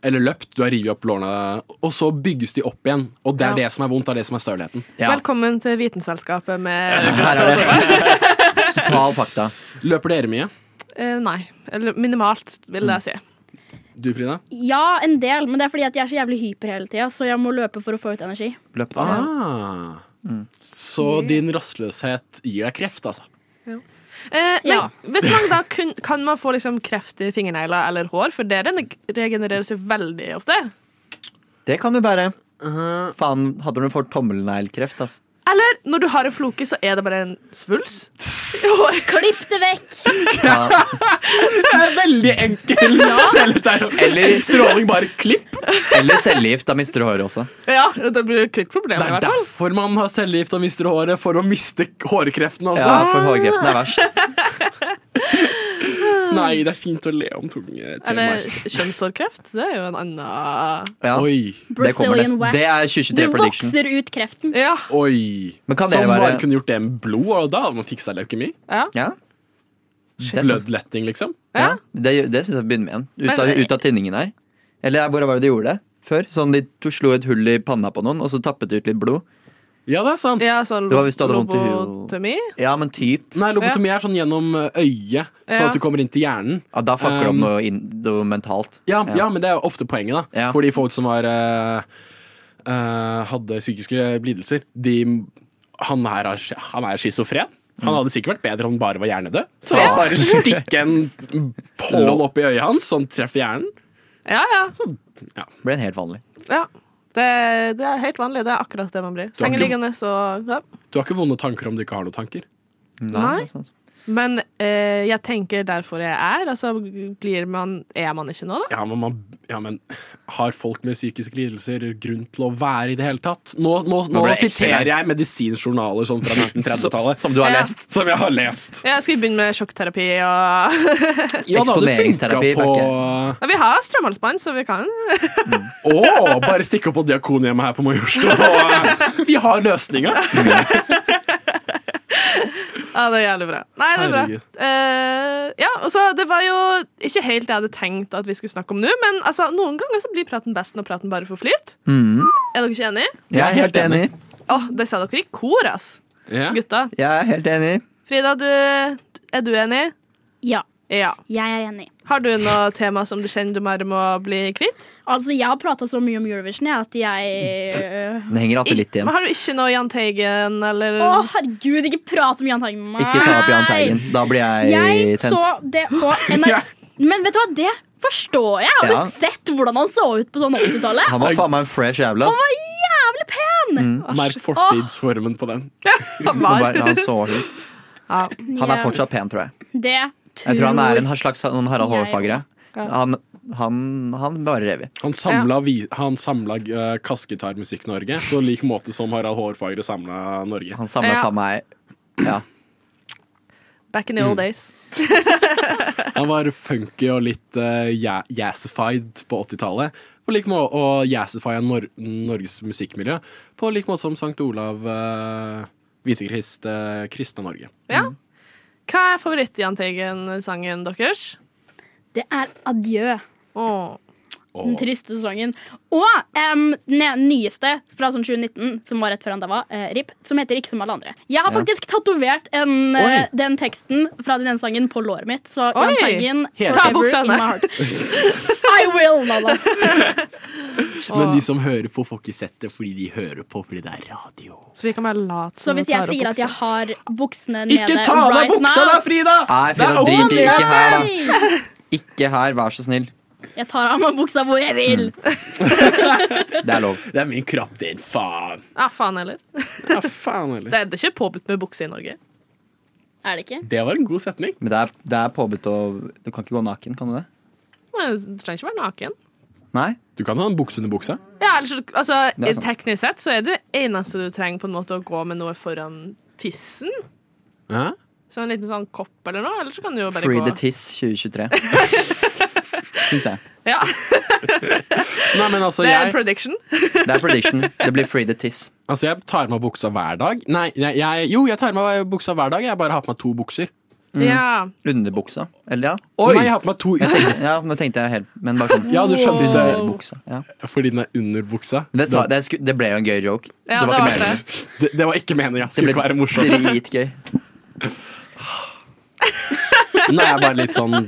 K: Eller løpt, du har revet opp lårene, og så bygges de opp igjen. Og det er
D: Ja.
K: det som er vondt, det er det som er stølheten.
D: Velkommen til Vitenselskapet med
K: Her er det.
A: Total fakta.
K: Løper dere mye?
D: Eh, Nei. Eller minimalt, vil jeg si.
K: Du, Frida?
F: Ja, en del, men det er fordi at jeg er så jævlig hyper hele tida, så jeg må løpe for å få ut energi.
A: Løpt
K: Ah. Så din rastløshet gir deg kreft, altså.
D: Eh, men
K: Ja.
D: hvis man da kun, kan man få liksom kreft i fingernegler eller hår, for det rene- regenererer seg veldig ofte.
A: Det kan du bære. Uh-huh. Faen, hadde du fått tommelneglkreft, ass.
D: Eller når du har en floke, så er det bare en svulst.
F: Klipp det vekk!
A: Ja.
K: Det er veldig enkel selvterapi.
A: Eller-
K: stråling, bare klipp.
A: Eller cellegift. Da mister du håret også.
D: Ja, det blir et
K: Det
D: krittproblem i
K: er
D: hvert fall.
K: derfor man har cellegift og mister håret, for å miste k- hårkreften. Altså.
A: Ja, for hårkreften er verst.
K: Nei, det er fint å le om tunge
D: Eller
K: temaer.
D: kjønnshårkreft. Det er jo en annen
A: Ja.
K: Oi.
A: Det kommer nesten. Det er 2023 prediction.
F: Du vokser ut kreften.
D: Ja.
K: Oi.
A: Men kan
K: Så
A: dere være-
K: man kunne gjort det med blod, og da hadde man fiksa leukemi?
D: Ja.
A: Det synes-
K: Bloodletting, liksom?
A: Ja. Det, det syns jeg vi begynner med igjen. Ut av,
K: Men-
A: ut av tinningen her. Eller hvor var det de gjorde det? Før? Sånn De to slo et hull i panna på noen, og så tappet de ut litt blod.
K: Ja, det er sant.
D: Ja, sånn
A: Det var hvis du hadde vondt i huet.
D: lobotomi.
A: Ja, men typ.
K: Nei, lobotomi er sånn gjennom eh, øyet, sånn
D: Ja.
K: at du kommer inn til hjernen.
A: Ja, da fucker de
K: Um,
A: om noe, inn, noe mentalt.
K: Ja, ja. men det er jo ofte poenget, da.
A: Ja.
K: Fordi folk som var eh, eh, hadde psykiske lidelser, de Han her er, han er schizofren. Han hadde sikkert vært bedre om han bare var hjernedød. Så la oss
D: Ja.
K: bare stikke en pål opp i øyet hans, sånn treffer hjernen.
D: Ja, ja.
A: Sånn. Ble en helt vanlig.
D: ja. Det, det er helt vanlig. Det er akkurat det man blir.
K: Du har ikke-
D: Sengeliggende, så ja.
K: Du har ikke vonde tanker om du ikke har noen tanker.
D: Nei. Men eh, jeg tenker derfor jeg er. Altså, blir man, er man ikke nå, da?
K: Ja, men, man, ja, men har folk med psykiske lidelser grunn til å være i det hele tatt? Nå, nå, nå,
A: Nå ble det ekstra
K: siterer
A: langt.
K: jeg medisinjournaler sånn fra 1930-tallet.
A: Som du har
D: Ja.
A: lest.
K: Som jeg har lest.
D: Ja, skal vi begynne med sjokkterapi og
K: Ja, da, det
A: Eksponeringsterapi,
K: funka på
D: Ja, Vi har strømhalsbånd, så vi kan
K: Å, bare stikk opp på Diakonhjemmet her på Majorstua. og, eh, Vi har løsninga.
D: Ja, det er jævlig bra. Nei, det er bra.
K: Herregud.
D: Eh, ja, og så Det var jo ikke helt det jeg hadde tenkt at vi skulle snakke om nå, men altså, noen ganger så blir praten best når praten bare får flyt.
A: Mhm.
D: Er dere ikke enige?
A: Jeg er helt enig.
D: Åh, det sa dere i kor, ass. Gutta.
A: Jeg er helt enig.
D: Frida, du, er du enig?
F: Ja.
D: Ja.
F: Jeg er enig.
D: Har du noe tema som du kjenner du bare må bli kvitt?
F: Altså, Jeg har prata så mye om Eurovision jeg, at jeg øh,
A: Den henger alltid litt igjen.
D: Men har du ikke noe Jahn Teigen, eller
F: Å, herregud, ikke prat om Jahn Teigen med meg.
A: Ikke ta opp Jahn Teigen. Da blir jeg
F: Jeg så
A: tent.
F: det på NRK Men vet du hva, det forstår jeg. Jeg hadde
A: Ja.
F: sett hvordan han så ut på sånn 80-tallet.
A: Han Mm. var faen meg en fresh jævla.
F: Han
A: ass.
F: var jævlig pen!
K: Merk fortidsformen på den.
A: Han var- han så ut. Han er
F: Ja.
A: fortsatt pen, tror jeg.
F: Det
A: Jeg
F: tror
A: tror han er en slags sånn Harald
F: Jeg-
A: Hårfagre.
F: Ja.
A: Han, han, han bare rev i.
K: Han samla, vi- han samla eh, kassegitarmusikk Norge på lik måte som Harald Hårfagre samla Norge.
A: Han samla
D: Ja.
A: faen meg Ja.
D: Back in the
A: Mm.
D: old days.
K: Han var funky og litt uh, jazzified på 80-tallet. På lik må- Og jazzify Nor Norges musikkmiljø på lik måte som St. Olav uh, Hvitekrist eh, kristna Norge.
D: Ja.
A: Mm.
D: Hva er favoritt-Jahn Teigen-sangen deres?
F: Det er Adjø.
D: Åh.
F: Den triste sangen. Og em, den ene nyeste fra sånn 2019, som var rett før han daua, eh, RIP, som heter Ikke som alle andre. Jeg har
K: Ja.
F: faktisk tatovert en,
K: Oi.
F: eh, den teksten fra den ene sangen på låret mitt. Så Jahn
D: Oi.
F: Teigen,
K: Helt
F: forever
K: enig.
F: in my heart. I will, Nala.
K: Men de som hører på, får ikke sett det fordi de hører på fordi det er radio.
D: Så vi kan være late
F: Så
D: som
F: hvis
D: vi
F: jeg
D: tar opp
F: sier at jeg
D: buksa.
F: har buksene nede
K: Ikke ta av deg
F: right
K: buksa
F: now-
K: da, Frida!
A: Nei,
K: Det
A: Frida,
K: er
A: drit
K: ordentlig.
A: ikke her, da.
F: Nei!
A: Ikke her, vær så snill.
F: Jeg tar av meg buksa hvor jeg vil.
A: Mm. Det er lov.
K: Det er min kropp, din faen.
D: Ja, faen heller.
K: Ja, faen heller.
D: Det er det er ikke påbudt med bukse i Norge.
F: Er det ikke?
K: Det var en god setning.
A: Men det er, det er påbudt å Du kan ikke gå naken, kan du det?
D: Men Du trenger ikke være naken.
A: Nei?
K: Du kan ha en bukse under buksa.
D: Ja, ellers, altså,
A: Det er sant.
D: teknisk sett så er det eneste du trenger på en måte å gå med noe foran tissen.
K: Ja.
D: Så en liten sånn kopp eller noe. Eller så kan du jo bare
A: Free
D: gå
A: the tiss 2023. syns jeg.
D: Ja.
K: Nei, men altså,
D: det er
K: jeg,
D: en prediction.
A: Det er prediction. Det blir free the tiss.
K: altså, jeg tar meg buksa hver dag. Nei, jeg, jeg, jo, jeg tar meg buksa hver dag. Jeg bare har på meg to bukser. Mm.
D: Ja.
A: Underbuksa. Eller ja.
K: Nei, jeg har på meg to
A: Jeg tenkte, ja, nå tenkte jeg helt Men bare sånn.
K: Ja, du skjønte.
A: Underbuksa. Ja.
K: Fordi den er under buksa.
A: Det, sa, det, sku, det ble jo en gøy joke.
D: Ja,
A: det var
D: det
A: ikke
D: var
A: meningen.
K: Det, det var ikke meninga. Skulle ikke være morsomt.
A: Det ble dritgøy.
K: Nå er jeg bare litt sånn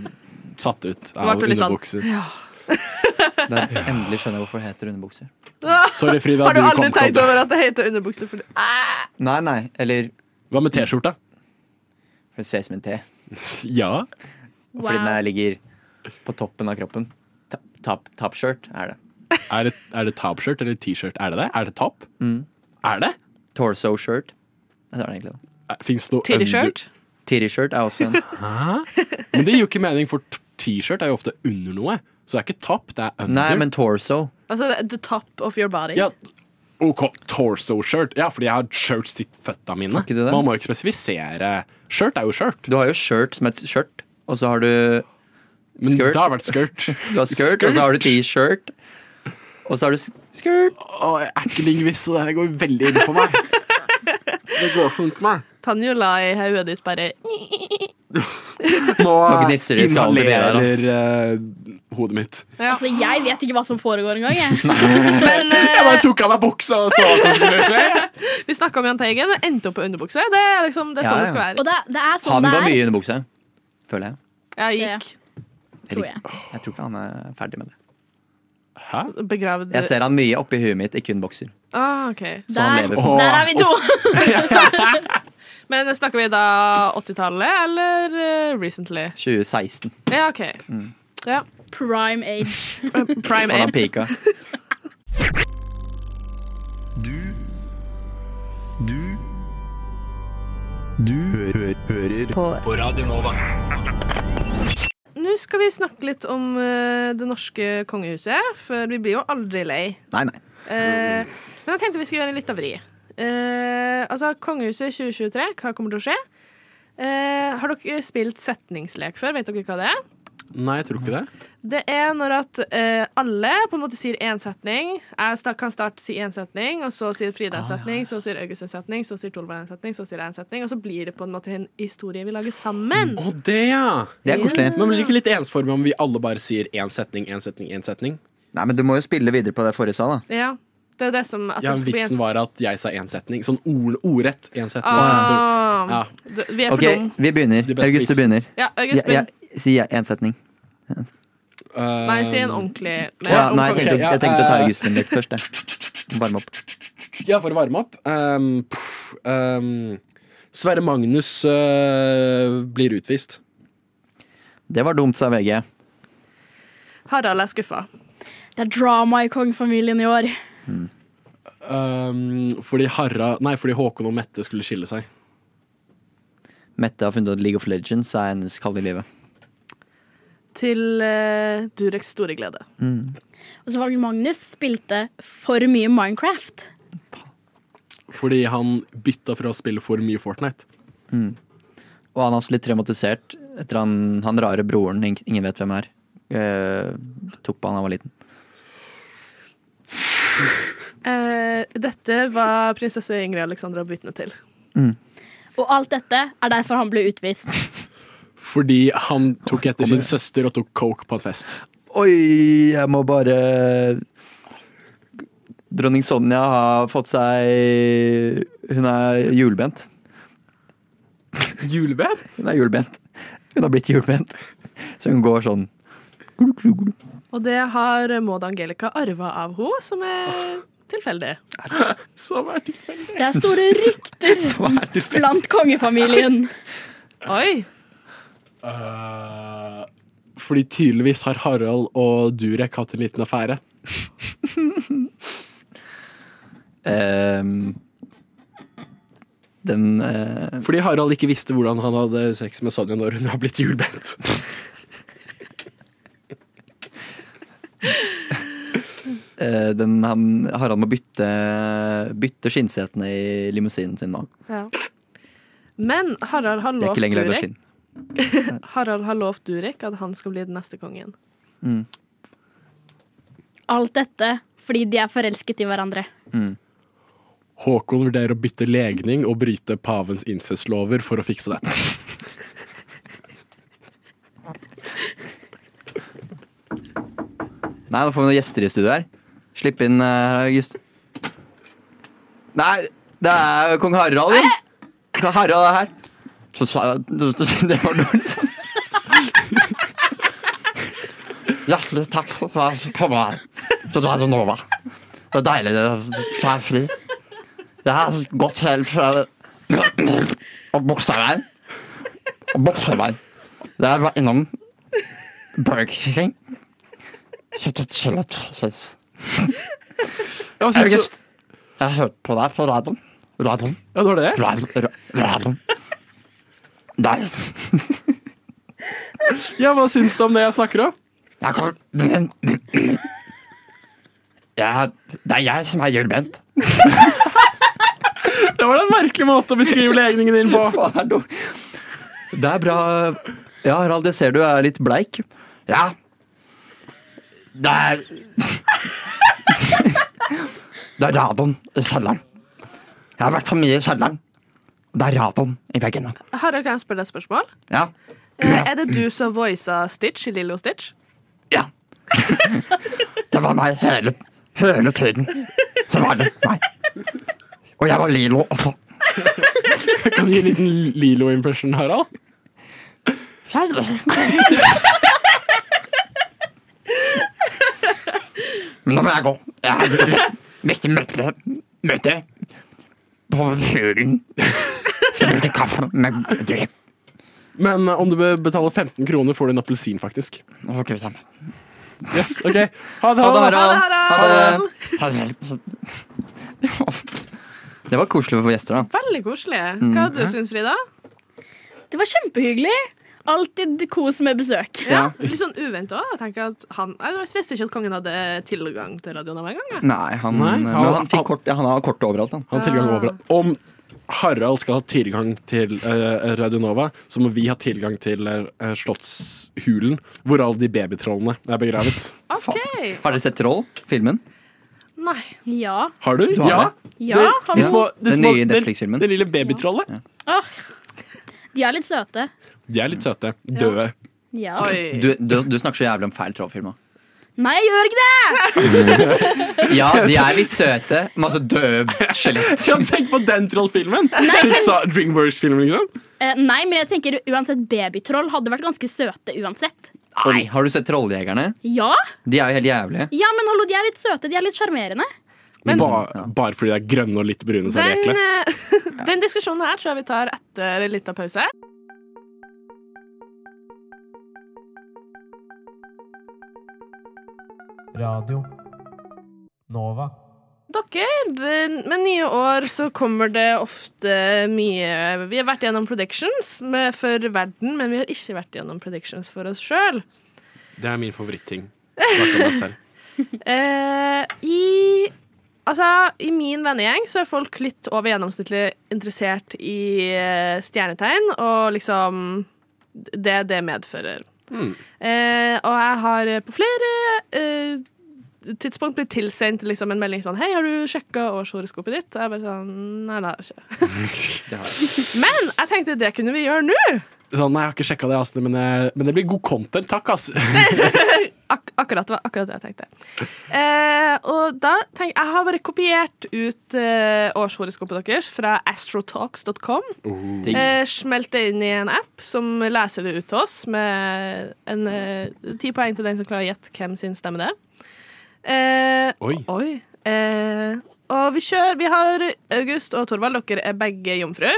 K: satt ut av
D: Vart du litt sånn,
K: underbukser.
A: Da endelig skjønner jeg hvorfor det heter underbukser.
K: Sorry, Frida.
D: Har du aldri
K: kom på
D: tenkt
K: det.
D: over at det heter underbukse? For Ah! det?
A: Nei, nei. Eller
K: Hva med T-skjorta?
A: for det ser ut som en T.
K: Ja.
A: Fordi den
F: Wow.
A: her ligger på toppen av kroppen. Ta- top- Top-shirt er det.
K: Er det, er det top-shirt eller T-shirt? Er det det? Er det top?
A: Mm.
K: Er det?
A: Torso-shirt. Det er det egentlig. da.
K: Fins det noe under
D: T-shirt?
A: Titty-shirt er også en
K: Men det gir jo ikke mening, for t- T-shirt er jo ofte under noe. Så det er ikke top, det er under.
A: Nei, men torso.
D: Altså the top of your body.
K: ja, OK, torso-shirt. Ja, fordi jeg har shirts til føtta mine.
A: ikke du det?
K: Man må jo ikke spesifisere. Shirt er jo shirt.
A: Du har jo shirt som et skjørt, og så har du
K: Men
A: Skirt.
K: det har vært skirt.
A: Du har skirt, og så har du T-shirt. Og så har du s- skirt.
K: Å, jeg er ikke lingvist, så det her går veldig inn på meg. Det går fint med meg.
D: Tanjo la i hodet ditt bare
K: Nå
A: Nå gnisser det i skallen til Vegard, ass.
K: inhalerer eh, hodet mitt.
D: Ja.
F: Altså, jeg vet ikke hva som foregår engang. jeg.
D: Men eh,
K: Jeg bare tok av meg buksa og så hva som skulle skje.
D: vi snakka om Jahn Teigen, endte opp på underbukse. Det er liksom, det er sånn
A: Ja,
D: det skal
F: Og
D: være.
F: det, det er sånn
A: Han
F: det
A: var mye
F: er,
A: i underbukse, føler jeg.
D: Jeg gikk
F: tror jeg.
A: Jeg tror ikke han er ferdig med det.
K: Hæ?
D: begravd
A: Jeg ser han mye oppi huet mitt, ikke kun bokser.
D: ah, ok.
A: Så han
F: Der,
A: lever for
F: der er vi to!
D: Men snakker vi da 80-tallet eller eh, recently?
A: 2016.
D: Ja, OK. Ja.
F: Prime age.
D: Prime
A: Var han
D: Ape.
A: pika?
B: Du Du Du hører på. Radio Nova.
D: Nå skal vi snakke litt om eh, det norske kongehuset, for vi blir jo aldri lei.
A: Nei, nei.
D: Eh, men jeg tenkte vi skulle gjøre en liten vri. Eh, altså, Kongehuset 2023, hva kommer til å skje? Eh, har dere spilt setningslek før? Vet dere hva det er?
K: Nei, jeg tror ikke det.
D: Det er når at eh, alle på en måte sier én setning. Jeg sta- kan starte si én setning, og så sier Frida
K: Ah,
D: en setning, så sier August en setning, så sier Tolvær en setning, så sier jeg en setning, og så blir det på en måte en historie vi lager sammen.
K: Å, det, ja.
A: Det er koselig.
K: Men blir det ikke litt ensformig om vi alle bare sier én setning, én setning, én setning?
A: Nei, men du må jo spille videre på det forrige sa, da.
D: Ja, det er det som at
K: Ja,
D: det skal bli en s-
K: Vitsen var at jeg sa én setning. Sånn ord, ordrett. Én setning. så
D: ah,
K: stor- Ja.
D: du- Vi er for
A: Ok,
D: dumme.
A: vi begynner.
K: De beste
A: August, du
K: vitsene.
A: begynner. Ja,
D: Ja, August,
A: ja,
D: begynn.
A: si én setning.
K: Eh,
D: Nei, si en ordentlig
A: Å
D: med
A: Ja,
D: ordentlig-
A: nei, jeg tenkte,
K: ok, ja,
A: jeg tenkte å ta
K: eh.
A: August sin lek først. jeg. Varme opp.
K: Ja, for å varme opp. ehm, pff, ehm, Sverre Magnus øh, blir utvist.
A: Det var dumt, sa VG.
D: Harald er skuffa.
F: Det er drama i kongefamilien i år.
K: Ehm, fordi Harra Nei, fordi Håkon og Mette skulle skille seg.
A: Mette har funnet ut at League of Legends er hennes kall i livet.
D: Til eh, Dureks store glede.
F: Og så var det Magnus spilte for mye Minecraft.
K: Fordi han bytta fra å spille for mye Fortnite.
A: Og han er også litt traumatisert etter han, han rare broren ing- ingen vet hvem er. eh, tok på han da han var liten.
D: Eh, dette var prinsesse Ingrid Alexandra vitne til.
F: Og alt dette er derfor han ble utvist.
K: Fordi han tok etter sin søster og tok coke på en fest.
A: Oi, jeg må bare Dronning Sonja har fått seg Hun er hjulbent.
K: Juleband?
A: Hun er hjulbent. Hun har blitt hjulbent. Så hun går sånn
D: Og det har Maud Angelica arva av henne, som er tilfeldig.
K: Så var det tilfeldig.
F: Det er store rykter blant kongefamilien.
D: Oi!
K: Eh, fordi tydeligvis har Harald og Durek hatt en liten affære.
A: ehm, Den eh,
K: Fordi Harald ikke visste hvordan han hadde sex med Sonja når hun har blitt julebent.
A: eh, Den han, Harald må bytte Bytte skinnsetene i limousinen sin nå.
D: Ja. Men Harald har
A: Det er
D: lovt
A: ikke lenger lagd av
D: Durek,
A: skinn.
D: Harald har lovt Durek at han skal bli den neste kongen.
A: Mm.
F: Alt dette fordi de er forelsket i hverandre.
K: Håkon vurderer å bytte legning og bryte pavens incestlover for å fikse dette.
A: Nei, nå får vi noen gjester i studio her. Slipp inn, eh, August. Nei, det er kong Harald. jo. Kong Harald er her. Så sa Det var dårlig. Hjertelig takk for at jeg kom her. Så du hadde Nova. Det er deilig å være fri. Jeg har gått helt fra Og Bukseveien. Og Bukseveien. Der var jeg innom Burger King. Kjøttet salatsaus.
K: synes du-
A: August, jeg hørte på deg på radioen. Radioen.
K: Ja, det var det.
A: Radioen. ra- radioen. Der.
K: Ja, Hva syns du om det jeg snakker om?
A: Jeg kom Men jeg, Det er jeg som er hjulbent.
K: Det var en merkelig måte å beskrive legningen din på.
A: Det er bra Ja, Harald, det ser du er litt bleik. Ja. Det er Det er radioen i kjelleren. Jeg har vært for mye i kjelleren. Det er radioen i veggene.
D: Harald, kan jeg spørre deg et spørsmål?
A: Ja.
D: Eh, Er det du som voisa Stitch i Lillo Stitch?
A: Det var meg hele, hele tiden. Så var det meg. Og jeg var Lilo også.
K: Kan du gi en liten Lilo-impression, Harald?
A: Men nå må jeg gå. Jeg har litt- mitt møte, møte på fuglen. Skal bruke kaffe med drep.
K: Men eh, om du be- betaler 15 kroner, får du en appelsin, faktisk.
A: Ok, sammen.
K: Yes, ok. Ha det,
A: Ha det,
K: Harald.
A: Harald. Ha det.
K: Ha det.
A: Det var koselig for gjester, da.
D: Veldig koselig.
A: Mm.
D: Hva du syns du, Frida?
F: Det var kjempehyggelig. Alltid kos med besøk.
D: Ja, litt sånn uventa. Jeg tenker at han Jeg visste ikke at kongen hadde tilgang til radioen hver gang. jeg.
A: Nei, han,
K: Nei,
A: men
K: han-
A: han, fikk kort, ja, han har kort overalt, han.
K: Han har tilgang
F: Ah.
K: overalt. Om Harald skal ha tilgang til eh, Radio Nova, så må vi ha tilgang til eh, Slottshulen, hvor alle de babytrollene er begravet.
D: OK.
A: Har dere sett Troll? Filmen?
D: Nei.
F: Ja.
K: Har du?
A: Du har
K: ja.
F: Ja, har
K: de
F: du-
K: små, de
A: Den
K: små,
A: nye
K: den-
A: Netflix-filmen.
K: Det lille babytrollet.
F: Åh, de er litt søte.
K: De er litt søte. Døde.
F: Ja.
A: Du, du, du snakker så jævlig om feil Troll-film òg.
F: Nei, jeg gjør ikke det!
A: Ja, de er litt søte. Masse døde skjelett.
K: Ja, tenk på den trollfilmen!
F: Nei, men-
K: Pixar- Dreamworks-filmen, liksom.
F: Eh, nei, men jeg tenker uansett babytroll hadde vært ganske søte uansett.
A: Nei, Har du sett Trolljegerne?
F: Ja,
A: De er jo helt jævlige.
F: ja men hallo, de er litt søte. De er litt sjarmerende.
K: Ba, bare fordi de er grønne og litt brune, så er de
D: Den,
K: ekle.
D: eh, den diskusjonen her tror jeg vi tar etter litt av pause.
L: Radio Nova.
D: Dere, eh, med nye år så kommer det ofte mye Vi har vært gjennom predictions med, for verden, men vi har ikke vært gjennom predictions for oss sjøl.
K: Det er min favoritting. Snakke om meg selv.
D: Eh, I Altså, i min vennegjeng så er folk litt over gjennomsnittlig interessert i eh, stjernetegn, og liksom Det det medfører.
K: Mm.
D: Eh, og jeg har eh, på flere eh, tidspunkt blitt tilsendt liksom, en melding sånn Hei, har du sjekka årshoroskopet ditt? Og jeg bare sånn Nei, det har jeg ikke.
K: Det har jeg.
D: Men jeg tenkte det kunne vi gjøre nå!
K: Sånn, nei, jeg har ikke sjekka det, ass, men, eh, men det blir god content. Takk, ass.
D: Ak akkurat, det var akkurat det jeg tenkte. Eh, og da tenk, Jeg har bare kopiert ut eh, årshoroskopet deres fra astrotalks.com.
K: Oh.
A: Digg.
D: Eh, smelt det inn i en app som leser det ut til oss, med en, eh, ti poeng til den som klarer å gjette hvem sin stemme det er. Eh,
K: Oi.
D: Eh, og vi kjører Vi har August og Torvald. Dere er begge jomfru.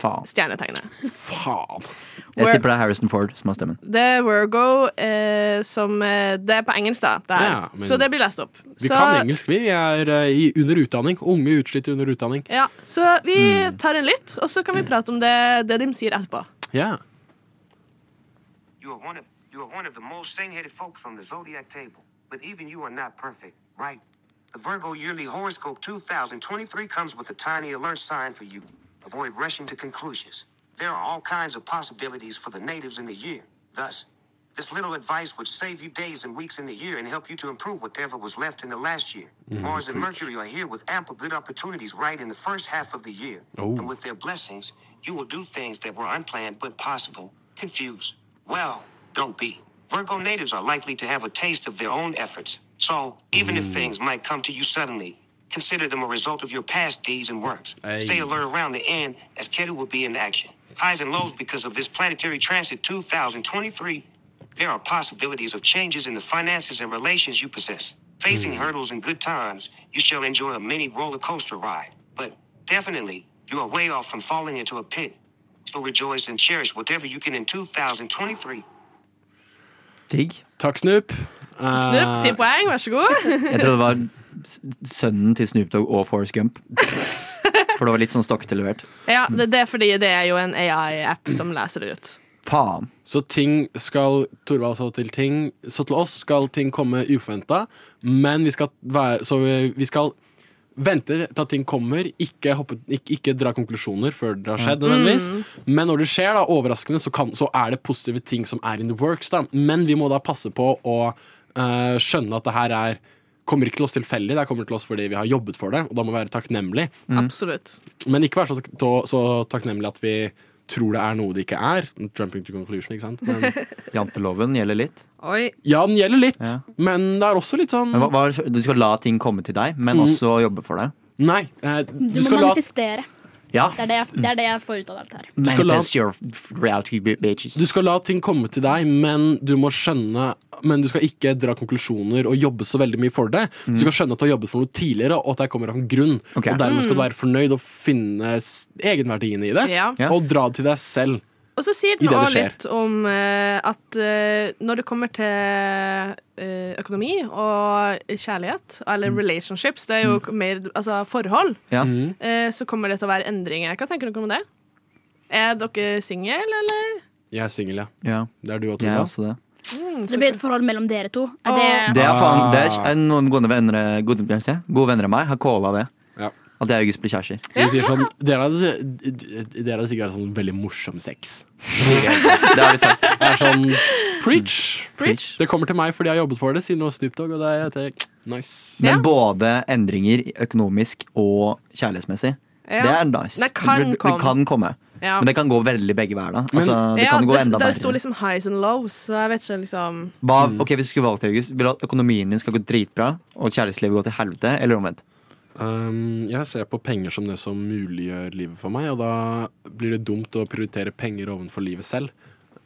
A: Faen.
D: Stjernetegnet.
K: Faen, ass.
A: Jeg tipper det er Harrison Ford som har stemmen.
D: Det er Virgo, eh, som eh, Det er på engelsk, da. Det her.
K: Ja, men-
D: så det blir lest opp.
K: Vi
D: så,
K: kan engelsk, vi. Vi er eh, i, under utdanning. Unge utslitt under utdanning.
D: Ja, så vi
K: Mm.
D: tar en lytt, og så kan vi prate om det, det de sier etterpå.
K: Ja.
M: You are one of you are one of the most sane-headed folks on the zodiac table, but even you are not perfect, right? The Virgo yearly horoscope 2023 comes with a tiny alert sign for you. Avoid rushing to conclusions. There are all kinds of possibilities for the natives in the year. Thus, This little advice would save you days and weeks in the year and help you to improve whatever was left in the last year.
N: Mm,
M: Mars and
N: preach.
M: Mercury are here with ample good opportunities right in the first half of the year.
N: Oh.
M: And with their blessings, you will do things that were unplanned but possible. Confused. Well, don't be. Virgo natives are likely to have a taste of their own efforts. So, even
N: Mm.
M: if things might come to you suddenly, consider them a result of your past deeds and works.
N: Hey.
M: Stay alert around the end, as Ketu will be in action. Highs and lows because of this planetary transit 2023. There are possibilities of changes in the finances and relations you possess.
O: Hmm.
M: Facing hurdles and good times, you shall enjoy a mini roller coaster ride. But definitely, you are way off from falling into a pit. So rejoice and cherish whatever you can in 2023.
A: Digg.
K: Takk, Snoop.
D: Snupp,
K: Ah.
D: ti poeng, vær så god.
A: Jeg trodde det var s- sønnen til Snoop Dogg og Forrest Gump. For det var litt sånn stokkete levert.
D: Ja, det, det er fordi det er jo en AI-app som leser det ut.
A: Faen.
K: Så ting skal Torvald sa til ting Så til oss skal ting komme uforventa, men vi skal være Så vi, vi skal vente til at ting kommer. Ikke, hoppe, ikke, ikke dra konklusjoner før det har skjedd,
D: Mm.
K: nødvendigvis.
D: Mm.
K: Men når det skjer, da, overraskende, så, kan, så er det positive ting som er in the works. Da. Men vi må da passe på å eh, skjønne at det her er kommer ikke til oss tilfeldig, det her kommer til oss fordi vi har jobbet for det. Og da må vi være takknemlig.
D: Mm. Absolutt.
K: Men ikke være så, tak- så, så takknemlig at vi tror det er noe det ikke er. Jumping to conclusion, ikke sant? Men,
A: Janteloven gjelder litt.
K: Ja, den gjelder litt,
A: Ja.
K: men det er også litt sånn
A: Men hva, hva, du skal la ting komme til deg, men
K: Mm.
A: også jobbe for deg.
K: Nei. eh,
F: Du,
K: du,
F: må
K: skal la
F: manifestere.
A: Ja.
F: Det, er det, jeg- det er det jeg får ut av alt det her.
K: Du skal la-
A: Manifest your reality, bitches.
K: du skal la ting komme til deg, men du må skjønne Men du skal ikke dra konklusjoner og jobbe så veldig mye for det.
A: Mm.
K: Du skal skjønne at du har jobbet for noe tidligere, og at det kommer av en grunn.
A: Ok.
K: Og dermed skal du
D: Mm.
K: være fornøyd og finne s- egenverdien i det,
D: Ja. Ja.
K: og dra det til deg selv.
D: Og så sier
K: I
D: den
K: det det
D: også
K: skjer.
D: litt om eh, at eh, når det kommer til eh, økonomi og kjærlighet,
K: Mm.
D: eller relationships, det er jo mer altså forhold,
A: Ja.
D: eh, så kommer det til å være endringer. Hva tenker dere om det? Er dere single, eller?
K: Jeg er singel, ja.
A: Ja.
K: Det er du og
A: Jeg er
K: Tora.
A: også det.
F: Så det blir et forhold mellom dere to. Er det,
A: Det er
D: Ah.
A: faen, det er, er Noen gode venner, eh, gode, gode venner av meg har calla det. At jeg og August blir kjærester.
K: De sier sånn Dere hadde, dere hadde sikkert hatt sånn veldig morsom sex.
A: Det har vi sagt.
K: Det er sånn preach.
A: Preach.
K: Det kommer til meg fordi jeg har jobbet for det, siden det var Snoop Dogg. Og det er det er- nice.
A: Men både endringer økonomisk og kjærlighetsmessig.
D: Ja.
A: Det er nice.
D: Det kan
A: det, det
D: komme.
A: kan komme.
D: Ja.
A: Men det kan gå veldig begge veier. da altså, Det
D: ja,
A: kan gå
D: det,
A: enda
D: det sto
A: bedre.
D: liksom highs and lows, så jeg vet ikke liksom
A: Hva, ok, Hvis du skulle valgt August, vil du at økonomien din skal gå dritbra, og kjærlighetslivet gå til helvete, eller omvendt?
K: Um, jeg ser på penger som det som muliggjør livet for meg, og da blir det dumt å prioritere penger ovenfor livet selv.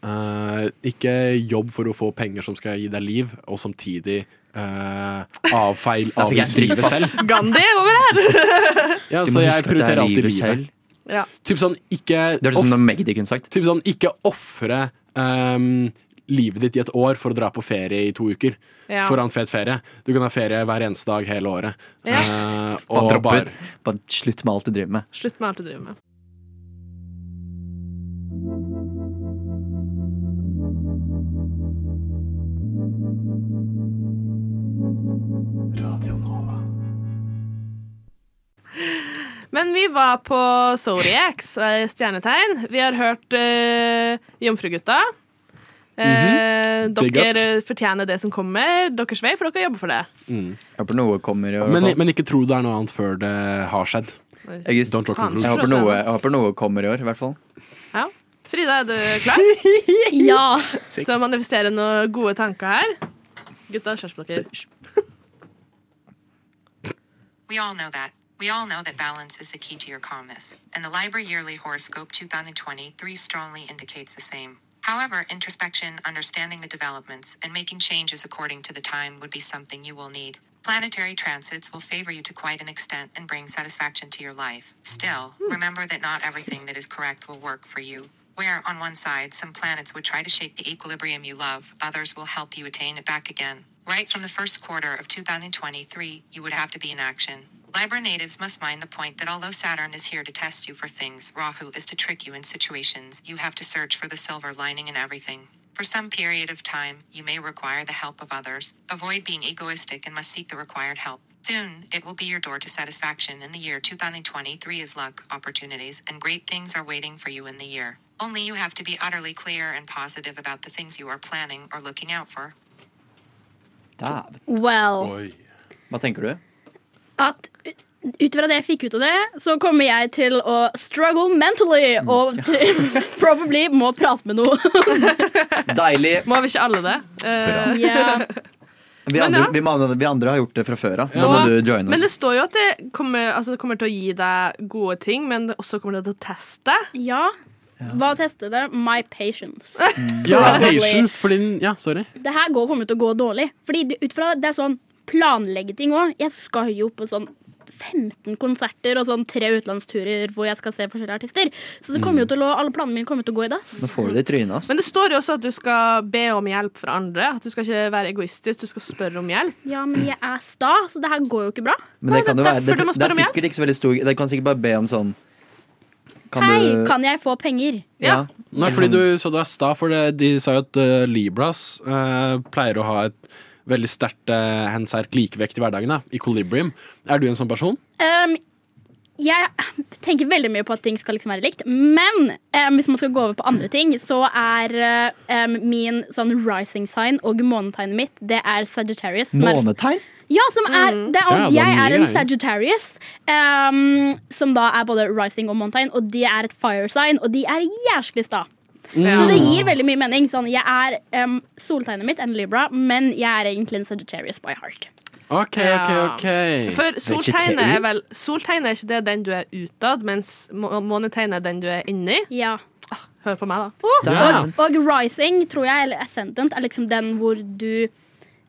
K: Eh, ikke jobb for å få penger som skal gi deg liv, og samtidig uh, avfeil
A: Da fikk jeg
K: avvise livet
A: dripass.
K: selv.
D: Gandhi, over her!
K: Ja,
A: Du
K: så
A: må
K: jeg
A: huske at det er
K: prioriterer alltid
A: livet
K: livet.
A: selv.
D: Ja.
K: Typ sånn, ikke
A: Det er det som noe Magdi kunne sagt.
K: Typ sånn, ikke ofre ehm, livet ditt i et år for å dra på ferie i to uker.
D: Ja.
K: For å ha en fet ferie. Du kan ha ferie hver eneste dag hele året. Eh,
A: Bare
K: og
A: dropp
K: bare
A: ut. Bare slutt med alt du driver med.
D: Slutt med alt du driver med. Men vi var på Zodiacs, eh, stjernetegn. Vi har hørt eh, Jomfrugutta.
A: Mhm.
D: Eh,
K: Big up.
D: dere fortjener det som kommer deres vei, for dere jobber for det.
K: Mm.
A: Håper noe kommer. i hvert
K: Men,
A: fall.
K: men ikke tro det er noe annet før det har skjedd.
A: August,
K: Don't rock
A: jeg håper, noe, jeg håper noe kommer i år, i hvert fall.
D: Ja. Frida, er du klar?
F: ja.
D: Til å manifestere noen gode tanker her. Gutta, kjørs på dere.
P: We all know that. We all know that balance is the key to your calmness, and the Libra Yearly Horoscope 2023 strongly indicates the same. However, introspection, understanding the developments, and making changes according to the time would be something you will need. Planetary transits will favor you to quite an extent and bring satisfaction to your life. Still,
A: Hmm.
P: remember that not everything that is correct will work for you. Where, on one side, some planets would try to shake the equilibrium you love, others will help you attain it back again. Right from the first quarter of 2023, you would have to be in action. Libra natives must mind the point that although Saturn is here to test you for things, Rahu is to trick you in situations, you have to search for the silver lining in everything. For some period of time, you may require the help of others. Avoid being egoistic and must seek the required help. Soon, it will be your door to satisfaction in the year 2023 is luck, opportunities, and great things are waiting for you in the year. Only you have to be utterly clear and positive about the things you are planning or looking out for.
A: Dæven.
F: Well.
A: Hva tenker du?
F: at ut- ut fra det jeg fikk ut av det, så kommer jeg til å struggle mentally og probably må prate med noe.
A: Deilig.
D: Må vi ikke alle det? Eh,
A: Bra.
F: Ja.
A: Vi
D: Men
A: andre,
D: ja.
A: vi, andre, vi andre har gjort det fra før av. Nå må du joine
D: Men
A: oss.
D: det står jo at det kommer, altså, det kommer til å gi deg gode ting, men det også kommer til å teste.
F: Ja. Hva tester det? My patience.
K: Ja,
F: Probably.
K: patience, fordi Ja, sorry.
F: Det her går, kommer til å gå dårlig. Fordi det- ut fra det er sånn planlegge ting òg. Jeg skal jo på sånn 15 konserter og sånn tre utenlandsturer hvor jeg skal se forskjellige artister. Så det
A: Mm.
F: kommer jo til å, alle planene mine kommer til å gå i dass.
A: Nå får du det i trynet. ass.
D: Men det står jo også at du skal be om hjelp fra andre. At du skal ikke være egoistisk, du skal spørre om hjelp.
F: Ja, men jeg er sta, så det her går jo ikke bra.
A: Men det kan jo være, det,
D: derfor du må
A: det er
D: spørre om
A: sikkert ikke så veldig stor Det kan sikkert bare be om sånn Kan
F: Hei,
A: du
F: kan jeg få penger?
A: Ja.
K: Nei, fordi du sa du er sta, for det, de sa jo at eh, Libras eh, pleier å ha et veldig sterkt eh, en sterk likevekt i hverdagen. Da. Equilibrium. Er du en sånn person?
F: Ehm, jeg tenker veldig mye på at ting skal liksom være likt, men ehm, hvis man skal gå over på andre ting, så er eh, ehm, min sånn rising sign og månetegnet mitt, det er Sagittarius. som er-
A: Månetegn?
F: Ja, som er,
A: Ja, det
F: det er,
A: er
F: jeg
A: mye
F: er en
A: greier.
F: Sagittarius, ehm, som da er både rising og månetegn, og de er et fire sign, og de er jæsklig sta.
D: Mm.
N: Ja.
F: Så det gir veldig mye mening. Sånn, jeg er ehm, soltegnet mitt, en Libra, men jeg er egentlig en Sagittarius by heart.
K: OK, OK, OK.
D: For soltegnet er vel Soltegnet er ikke det den du er utad, mens må- månetegnet er den du er inni.
F: Ja.
D: Hør på meg, da.
F: Og, og rising, tror jeg, eller ascendant, er liksom den hvor du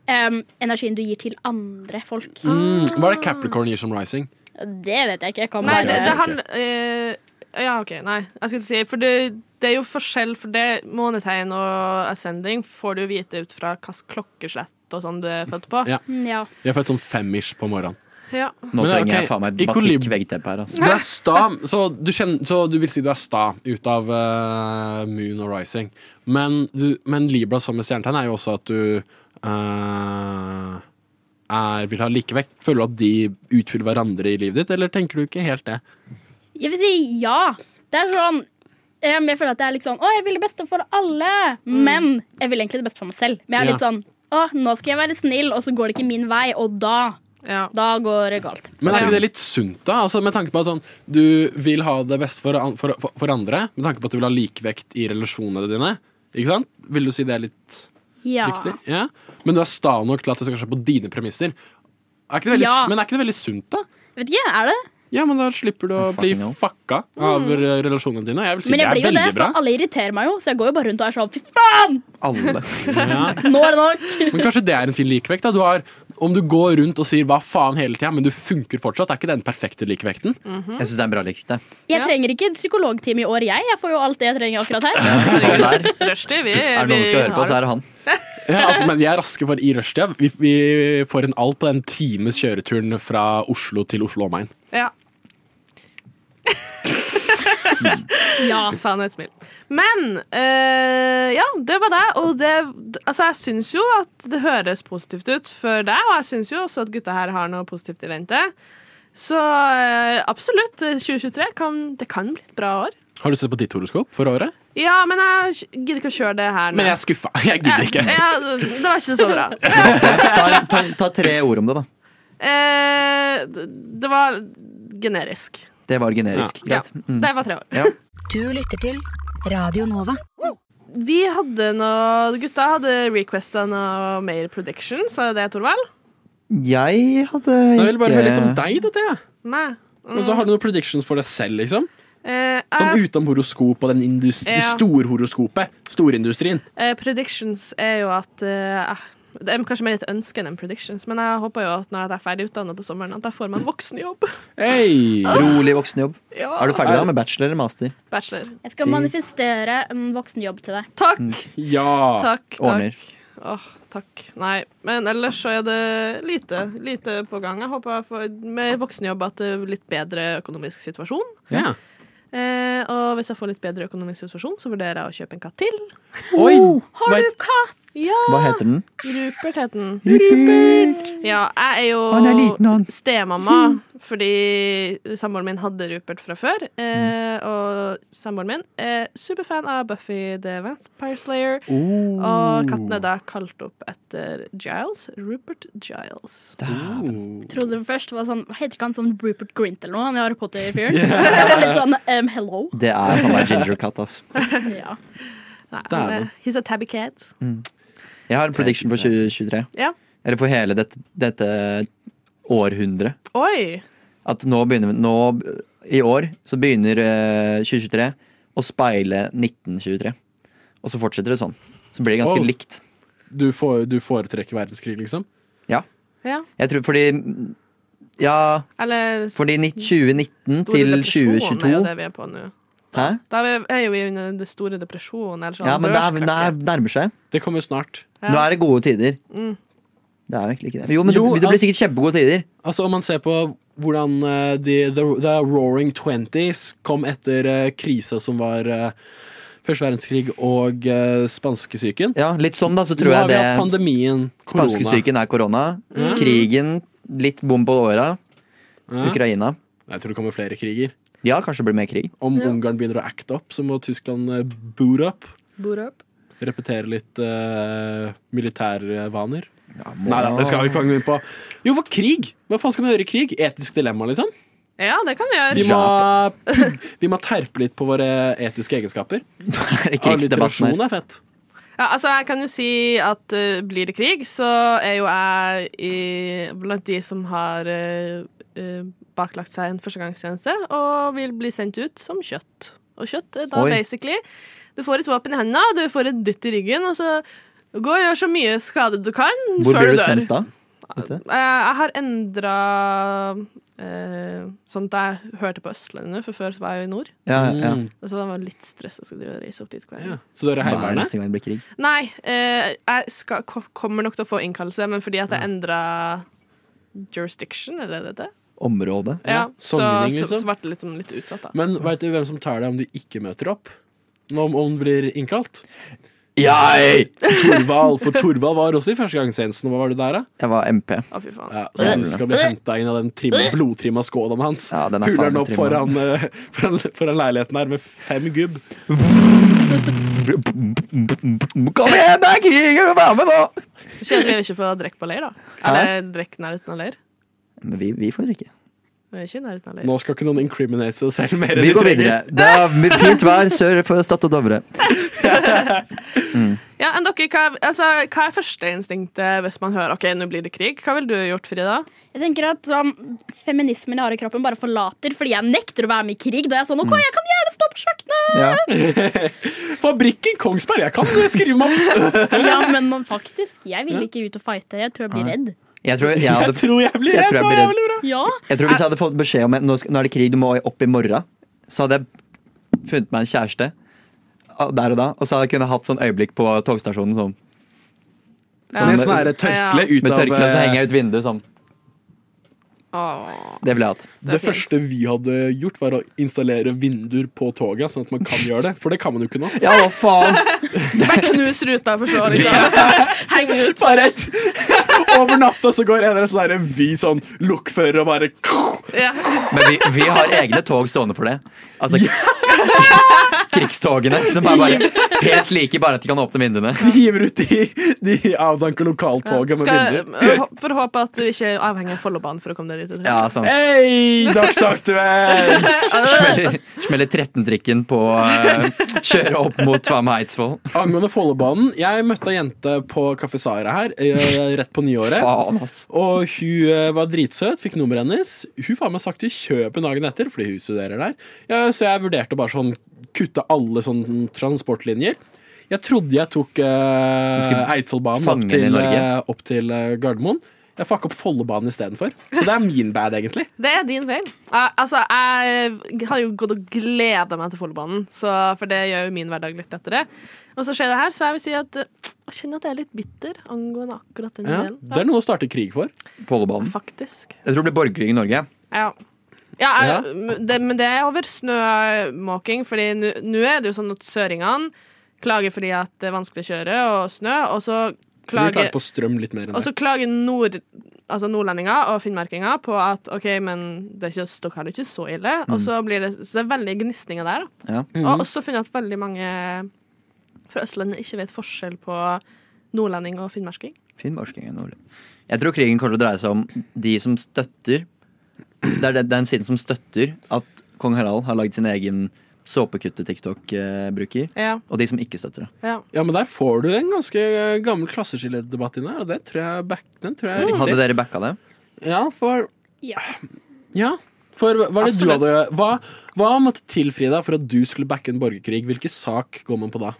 F: em, Energien du gir til andre folk.
K: Mm, hva er det Capricorn gir som rising?
F: Det vet jeg ikke. Jeg kan
D: Nei,
F: bare
D: det, det handler eh, Ja, OK. Nei, jeg skulle si For det, det er jo forskjell, for det månetegn og ascending får du jo vite ut fra hvilket klokkeslett og sånn du er født på.
K: Ja.
F: Mm, ja.
K: Jeg er født sånn fem-ish på morgenen.
D: Ja.
A: Nå
K: Men,
A: trenger
K: ok,
A: jeg faen meg
K: i kolib-
A: batikkveggteppe her. ass.
K: Du er sta, så du, kjenner, så du vil si du er sta ut av eh, Moon og Rising. Men, du, men Libra som med stjernetegn er jo også at du eh, er, vil ha likevekt. Føler du at de utfyller hverandre i livet ditt, eller tenker du ikke helt det?
F: Jeg vil si ja. Det er sånn em, Jeg føler at det er litt sånn Å, jeg vil det beste for alle, men jeg vil egentlig det beste for meg selv. Men jeg er
K: Mm. Ja.
F: litt sånn Å, nå skal jeg være snill, og så går det ikke min vei, og da Da går det galt.
K: Men er ikke det litt sunt, da? Altså, med tanke på at sånn, du vil ha det beste for, an- for, for, for andre, med tanke på at du vil ha likevekt i relasjonene dine. Ikke sant? Vil du si det er litt
F: Ja.
K: riktig? Ja. Men du er sta nok til at det skal skje på dine premisser. Er ikke det veldig,
F: Ja.
K: Men er ikke det veldig sunt, da?
F: Vet ikke, er det?
K: Ja, men da slipper du å bli
A: Fucking no.
K: fucka av
F: Mm.
K: eh, relasjonene dine. Jeg vil si
F: Men
K: det
F: jeg
K: er
F: blir jo det,
K: veldig bra.
F: for alle irriterer meg jo, så jeg går jo bare rundt og er sånn Fy faen!
A: Alle.
D: Mhm.
K: Ja.
F: Nå er det nok!
K: Men kanskje det er en fin likevekt? da du har, Om du går rundt og sier 'hva faen' hele tida, men du funker fortsatt, er ikke det den perfekte likevekten?
F: Mhm.
A: Jeg syns det er en bra likevekt, det.
F: Jeg trenger ikke psykologtime i år, jeg. Jeg får jo alt det jeg trenger akkurat her.
D: Rushtid, vi
A: Er det noen som skal høre på, så er det han.
K: Ja, altså, men vi er raske for i rushtida. Vi, vi får en all på den times kjøreturen fra Oslo til Oslo omegn.
D: Ja.
F: ja.
D: Sannhetsmil. Men eh, ja, det var det. Og det Altså, jeg syns jo at det høres positivt ut for deg, og jeg syns jo også at gutta her har noe positivt i vente. Så eh, absolutt, eh, 2023 kan, det kan bli et bra år.
K: Har du sett på ditt horoskop for året?
D: Ja, men jeg gidder ikke å kjøre det her nå.
K: Men jeg er skuffa. Jeg gidder ikke.
D: ja, Det var ikke så bra.
A: Ta, ta, ta tre ord om det, da.
D: Eh, d- det var generisk.
A: Det var generisk.
D: Ja.
A: Greit. Mm.
D: Det var tre år.
A: Ja.
Q: Du lytter til Radio Nova.
D: Vi hadde noe Gutta hadde requesta noe mer predictions, var det det, Torvald?
A: Jeg hadde
K: Jeg
A: ikke
K: vil bare høre litt om deg, da, Thea.
D: Nei. Mm.
K: Og så har du noen predictions for deg selv, liksom.
D: Eh,
K: Sånn
D: jeg-
K: utenom horoskop og den indus-
D: Ja.
K: storhoroskopet. Storindustrien.
D: eh, predictions er jo at eh, eh, Det er kanskje mer et ønske enn en predictions, men jeg håper jo at når jeg er ferdig utdannet til sommeren, at jeg får meg en voksenjobb.
K: Hey.
A: Rolig voksenjobb.
D: Ja.
A: Er du ferdig da med bachelor eller master?
D: Bachelor.
F: Jeg skal manifestere en voksenjobb til deg.
D: Takk!
K: Mm. Ja.
D: Takk, takk.
A: Ordner.
D: Åh, takk. Nei, men ellers så er det lite, lite på gang. Jeg håper jeg får med voksenjobb at det er litt bedre økonomisk situasjon.
K: Ja.
D: Eh, Oh, og hvis jeg får litt bedre økonomisk situasjon, så vurderer jeg å kjøpe en katt til.
K: Oi!
F: Har du katt?
D: Ja.
A: Hva heter den?
D: Rupert het den.
A: Rupert!
D: Ja, jeg er jo
A: Han er liten, han.
D: stemamma, fordi samboeren min hadde Rupert fra før.
A: Mm.
D: Eh, og samboeren min er superfan av Buffy the Vampire Slayer.
K: Oh.
D: Og katten er da kalt opp etter Giles. Rupert Giles.
F: Trodde først var sånn, Heter ikke han sånn Rupert Grint eller noe? Han er Harry Potter-fyren.
A: Ja.
F: Litt sånn em, hello.
A: Det er faen meg ginger cat, ass.
F: Ja.
D: Nei, han
A: Dæven.
D: er, he's a tabby cat.
A: Mm. Jeg har en prediction for 2023.
D: Ja.
A: Eller for hele dette, dette århundret.
D: Oi!
A: At nå begynner vi nå, I år så begynner eh, 2023 å speile 1923. Og så fortsetter det sånn. Så blir det ganske
K: Oh.
A: likt.
K: Du, får, du foretrekker verdenskrig, liksom?
A: Ja.
D: Ja.
A: Jeg tror fordi Ja,
D: Eller
A: fordi ni- 2019
D: Store
A: til
D: depresjon er jo
A: 2022
D: det vi er på nå.
A: Hæ?
D: Da er vi- er jo vi under den store depresjonen. Eller sånn
A: Ja, men det, er, det
D: børskrakk.
A: er, nærmer seg.
K: Det kommer snart.
D: Ja.
A: Nå er det gode tider.
D: Mm.
A: Det er jo egentlig ikke det. Jo, men det,
K: Jo,
A: det blir
K: al-
A: sikkert kjempegode tider.
K: Altså, om man ser på hvordan eh, the, the, the Roaring Twenties kom etter eh, krisa som var eh, Første verdenskrig og uh, spanskesyken.
A: Ja, litt sånn da, så tror
K: Nå
A: jeg
K: har vi
A: det-
K: hatt pandemien, korona.
A: Spanskesyken er korona.
K: Mm.
A: Krigen, litt bom på åra.
K: Ja.
A: Ukraina.
K: Jeg tror det kommer flere kriger.
A: Ja, kanskje det blir mer krig.
K: Om
D: Ja.
K: Ungarn begynner å acte opp, så må Tyskland eh, boot up.
D: Boot up.
K: Repetere litt eh, militærvaner.
A: må-
K: Nei da, det skal vi ikke gå inn på. Jo, for krig! Hva faen skal vi gjøre i krig? Etisk dilemma, liksom.
D: Ja, det kan vi
K: Vi
D: gjøre.
K: må, vi må terpe litt på våre etiske egenskaper.
A: krigsdebatten her.
K: Alliterasjon er fett.
D: Ja, altså, jeg kan jo si at eh, blir det krig, så er jo jeg i, blant de som har eh, eh, baklagt seg en førstegangstjeneste og vil bli sendt ut som kjøtt. Og kjøtt er da
N: Oi.
D: basically Du får et våpen i hendene, og du får et dytt i ryggen, og så gå og gjør så mye skade du kan
A: Hvor blir
D: før
A: du
D: du dør.
A: sendt da? Vet du?
D: Eh, Jeg har endra eh, sånn at jeg hørte på Østlandet nå, for før var jeg jo i nord.
A: Ja, ja.
K: Mm.
D: Og så var det litt stress å skulle drive og reise opp dit hver gang.
K: Så dere er
A: Hva er
K: heimevernet?
A: neste gang det blir krig?
D: Nei, eh, jeg skal, ko- kommer nok til å få innkallelse, men fordi at jeg endra jurisdiction, er det det heter?
A: Område?
D: Ja, så,
K: Sogning,
D: så, så
K: liksom.
D: ble det litt, sånn litt utsatt, da.
K: Men veit du hvem som tar deg om du ikke møter opp? Nå Om om du blir innkalt?
A: Jeg!
K: Torvald, for Torvald var også i førstegangstjenesten. Hva var du der, da?
A: Jeg var MP.
D: Å, fy faen.
K: Ja,
A: Eh,
K: så du skal bli henta inn av den trimma, blodtrimma skålen hans. Ja,
A: den er
K: Huler
A: faen
K: den opp
A: trimma.
K: foran, eh, foran, foran leiligheten her med fem gubb.
A: Kom igjen, det er krig! Jeg vil være med nå!
D: Kjedelig å ikke få drikke på leir, da. Eller drikke i nærheten av leir.
A: Men vi, vi får ikke.
D: Vi er ikke i nærheten av leir.
K: Nå skal ikke noen incriminate seg selv mer enn
A: Vi
K: de
A: går
K: trenger.
A: videre. Det er fint vær sør for Stad og Dovre.
D: Ja, enn dere, hva, altså, hva er førsteinstinktet hvis man hører OK, nå blir det krig? Hva ville du gjort, Frida?
F: Jeg tenker at sånn, Feminismen jeg har i kroppen, bare forlater fordi jeg nekter å være med i krig. Da er jeg sånn, ok, jeg kan gjerne stå på kjøkkenet!
K: Fabrikken Kongsberg, jeg kan skrive meg opp!
F: Ja, men faktisk, jeg vil
K: Ja.
F: ikke ut og fighte. Jeg tror jeg blir redd.
A: Jeg tror jeg, hadde,
K: Jeg tror jeg blir
A: jeg
K: redd,
A: tror jeg blir
K: det er
A: redd.
K: jævlig bra.
F: Ja,
A: Jeg tror Hvis jeg hadde fått beskjed om at nå skal- nå er det krig, du må opp i morgen, så hadde jeg funnet meg en kjæreste ah, der og da. Og så hadde jeg kunnet hatt sånn øyeblikk på togstasjonen. Sånn.
K: Ja. Med sånn her tørkle ut
A: Med
K: av,
A: tørkle, og så
K: eh,
A: henger jeg ut vinduet sånn.
D: Åh.
A: Det ville jeg hatt.
K: Det, første vi hadde gjort, var å installere vinduer på toget, sånn at man kan gjøre det. For det kan man jo ikke nå.
A: Ja, hva faen?
D: Bare knus ruta, for så vidt. Heng ut.
K: Bare et Over natta så går en eller annen sånn der vi sånn lokfører og bare
D: Ja.
A: Men vi, vi har egne tog stående for det. Altså krigstogene, som er bare helt like, bare at de kan åpne vinduene.
K: De hiver ut de, de avdanker lokaltoget med
D: Skal,
K: vinduer.
D: øh, for å håpe at du ikke er avhengig av Follobanen for å komme deg dit. du trenger.
A: Ja, sånn. sant.
K: Hei, dagsaktuelt!
A: Smeller, smeller 13-trikken på eh, Kjører opp mot Tvam Eidsvoll.
K: Angående Follobanen. Jeg møtte ei jente på Kafé Sara her eh, rett på nyåret.
A: Faen, ass.
K: Og hun eh, var dritsøt, fikk nummeret hennes. Hun faen meg sagt til kjøpet dagen etter, fordi hun studerer der. Ja, så jeg vurderte å bare sånn kutte alle sånn transportlinjer. Jeg trodde jeg tok eh,
A: skulle
K: Eidsvollbanen
A: fange
K: opp
A: den i
K: til,
A: Norge.
K: eh, opp til eh, Gardermoen. Jeg fucka opp Follobanen istedenfor. Så det er min bad, egentlig.
D: Det er din feil. Eh, altså, jeg har jo gått og gleda meg til Follobanen, så- for det gjør jo min hverdag litt lettere. Og så skjer det her, så jeg vil si at eh, jeg kjenner at jeg er litt bitter angående akkurat den
K: Ja,
D: delen.
K: det er noe å starte krig for.
A: Follobanen.
D: Faktisk.
A: Jeg tror det blir borgerkrig i Norge.
D: Ja. Ja, jeg-
A: Ja.
D: men Det, men det er over snømåking, Fordi nå nå er det jo sånn at søringene Klager fordi at det er vanskelig å kjøre og snø, og så
K: Klager. Vi
D: klager
K: klager på strøm litt mer enn
D: og så
K: det.
D: klager nord, altså nordlendinger og finnmarkinger på at OK, men det er ikke, dere har det ikke så ille. Og så blir det, så det er veldig gnisninger der. Da.
A: Ja.
K: Mm.
D: Og også funnet at veldig mange fra Østlandet ikke vet forskjell på nordlending og finnmarking.
A: Finnmarkingen, Nordli. Jeg tror krigen kommer til å dreie seg om de som støtter Det er den- den siden som støtter at kong Harald har lagd sin egen såpekutte-TikTok-bruker.
D: Ja.
A: Og de som ikke støtter det.
D: Ja.
K: men der får du en ganske eh, gammel klasseskilledebatt inn her, og det tror jeg, back, den tror jeg er riktig.
A: Hadde dere backa det?
K: Ja, for
F: Ja.
K: Ja. For hva, er det du
A: Absolutt.
K: hadde, hva, hva måtte til, Frida, for at du skulle backe en borgerkrig? Hvilken sak går man på da?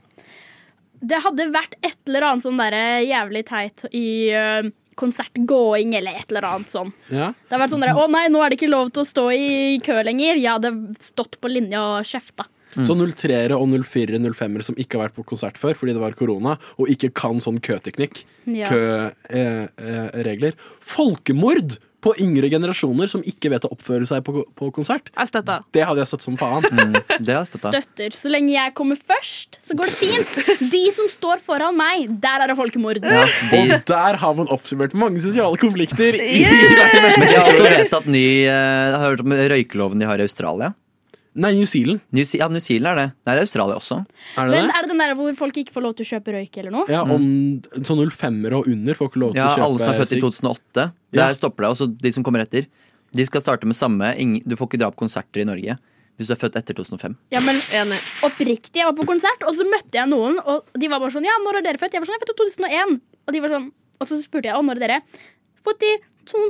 F: Det hadde vært et eller annet sånn der jævlig teit i eh, konsertgåing eller et eller annet sånn.
K: Ja.
F: Det har vært sånn der, Å nei, nå er det ikke lov til å stå i kø lenger. Jeg hadde stått på linja og kjefta.
A: Mm.
K: Så 03-ere og 04-ere 05-ere som ikke har vært på konsert før fordi det var korona, og ikke kan sånn køteknikk,
F: Ja.
K: køregler. Eh, regler. Folkemord på yngre generasjoner som ikke vet å oppføre seg på, på konsert. Det hadde jeg støtt som faen.
A: det har jeg støtta.
F: Støtter. Så lenge jeg kommer først, så går det fint. De som står foran meg, der er det folkemord.
K: Og der har man oppsummert mange sosiale konflikter. i-
A: Men jeg har også vedtatt ny eh, Har hørt om røykeloven de har i Australia?
K: Nei, New Zealand.
A: ja, New Zealand er det. Nei, det er Australia også.
F: Men er det den der hvor folk ikke får lov til å kjøpe røyk eller noe?
K: Ja, om sånn 05-ere og under får ikke lov til
A: Mm. Ja,
K: å kjøpe
A: alle som er født i
K: sigg.
A: 2008.
K: Ja.
A: Der stopper det. Og så de som kommer etter. De skal starte med samme ingen, Du får ikke dra på konserter i Norge hvis du er født etter 2005.
F: Ja, men oppriktig, jeg var på konsert, og så møtte jeg noen, og de var bare sånn Ja, når er dere født? Jeg var sånn, jeg er født i 2001. Og de var sånn Og så spurte jeg, og når er dere? Født i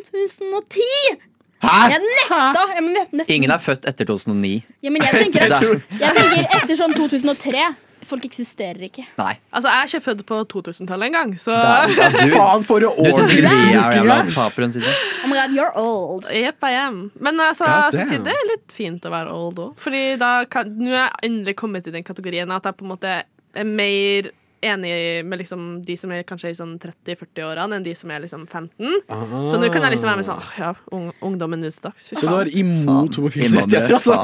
F: 2010!
A: Hæ?
F: Jeg nekta! Jeg nekta nesten.
A: Ingen er født etter 2009.
F: Ja, men jeg tenker,
A: Det
F: at,
A: er-
F: jeg tenker etter sånn 2003 Folk eksisterer ikke.
A: Nei.
D: Altså, jeg er ikke født på 2000-tallet engang, så
K: Ah.
A: Da- da- du- Faen,
K: for
A: Du syns vi er jævla tapere, hun sier.
F: Oh my god, you're old.
D: Yep, I am. Men altså,
A: God damn.
D: samtidig er det litt fint å være old òg. Fordi da kan, nå er jeg endelig kommet i den kategorien at jeg på en måte er mer enig med liksom de som er kanskje i sånn 30-40-årene, enn de som er liksom 15.
K: Ah.
D: Så nå kan jeg liksom være med sånn «Åh, ja, ung, ungdommen utdags.
K: Så du er imot homofiles rettigheter, altså?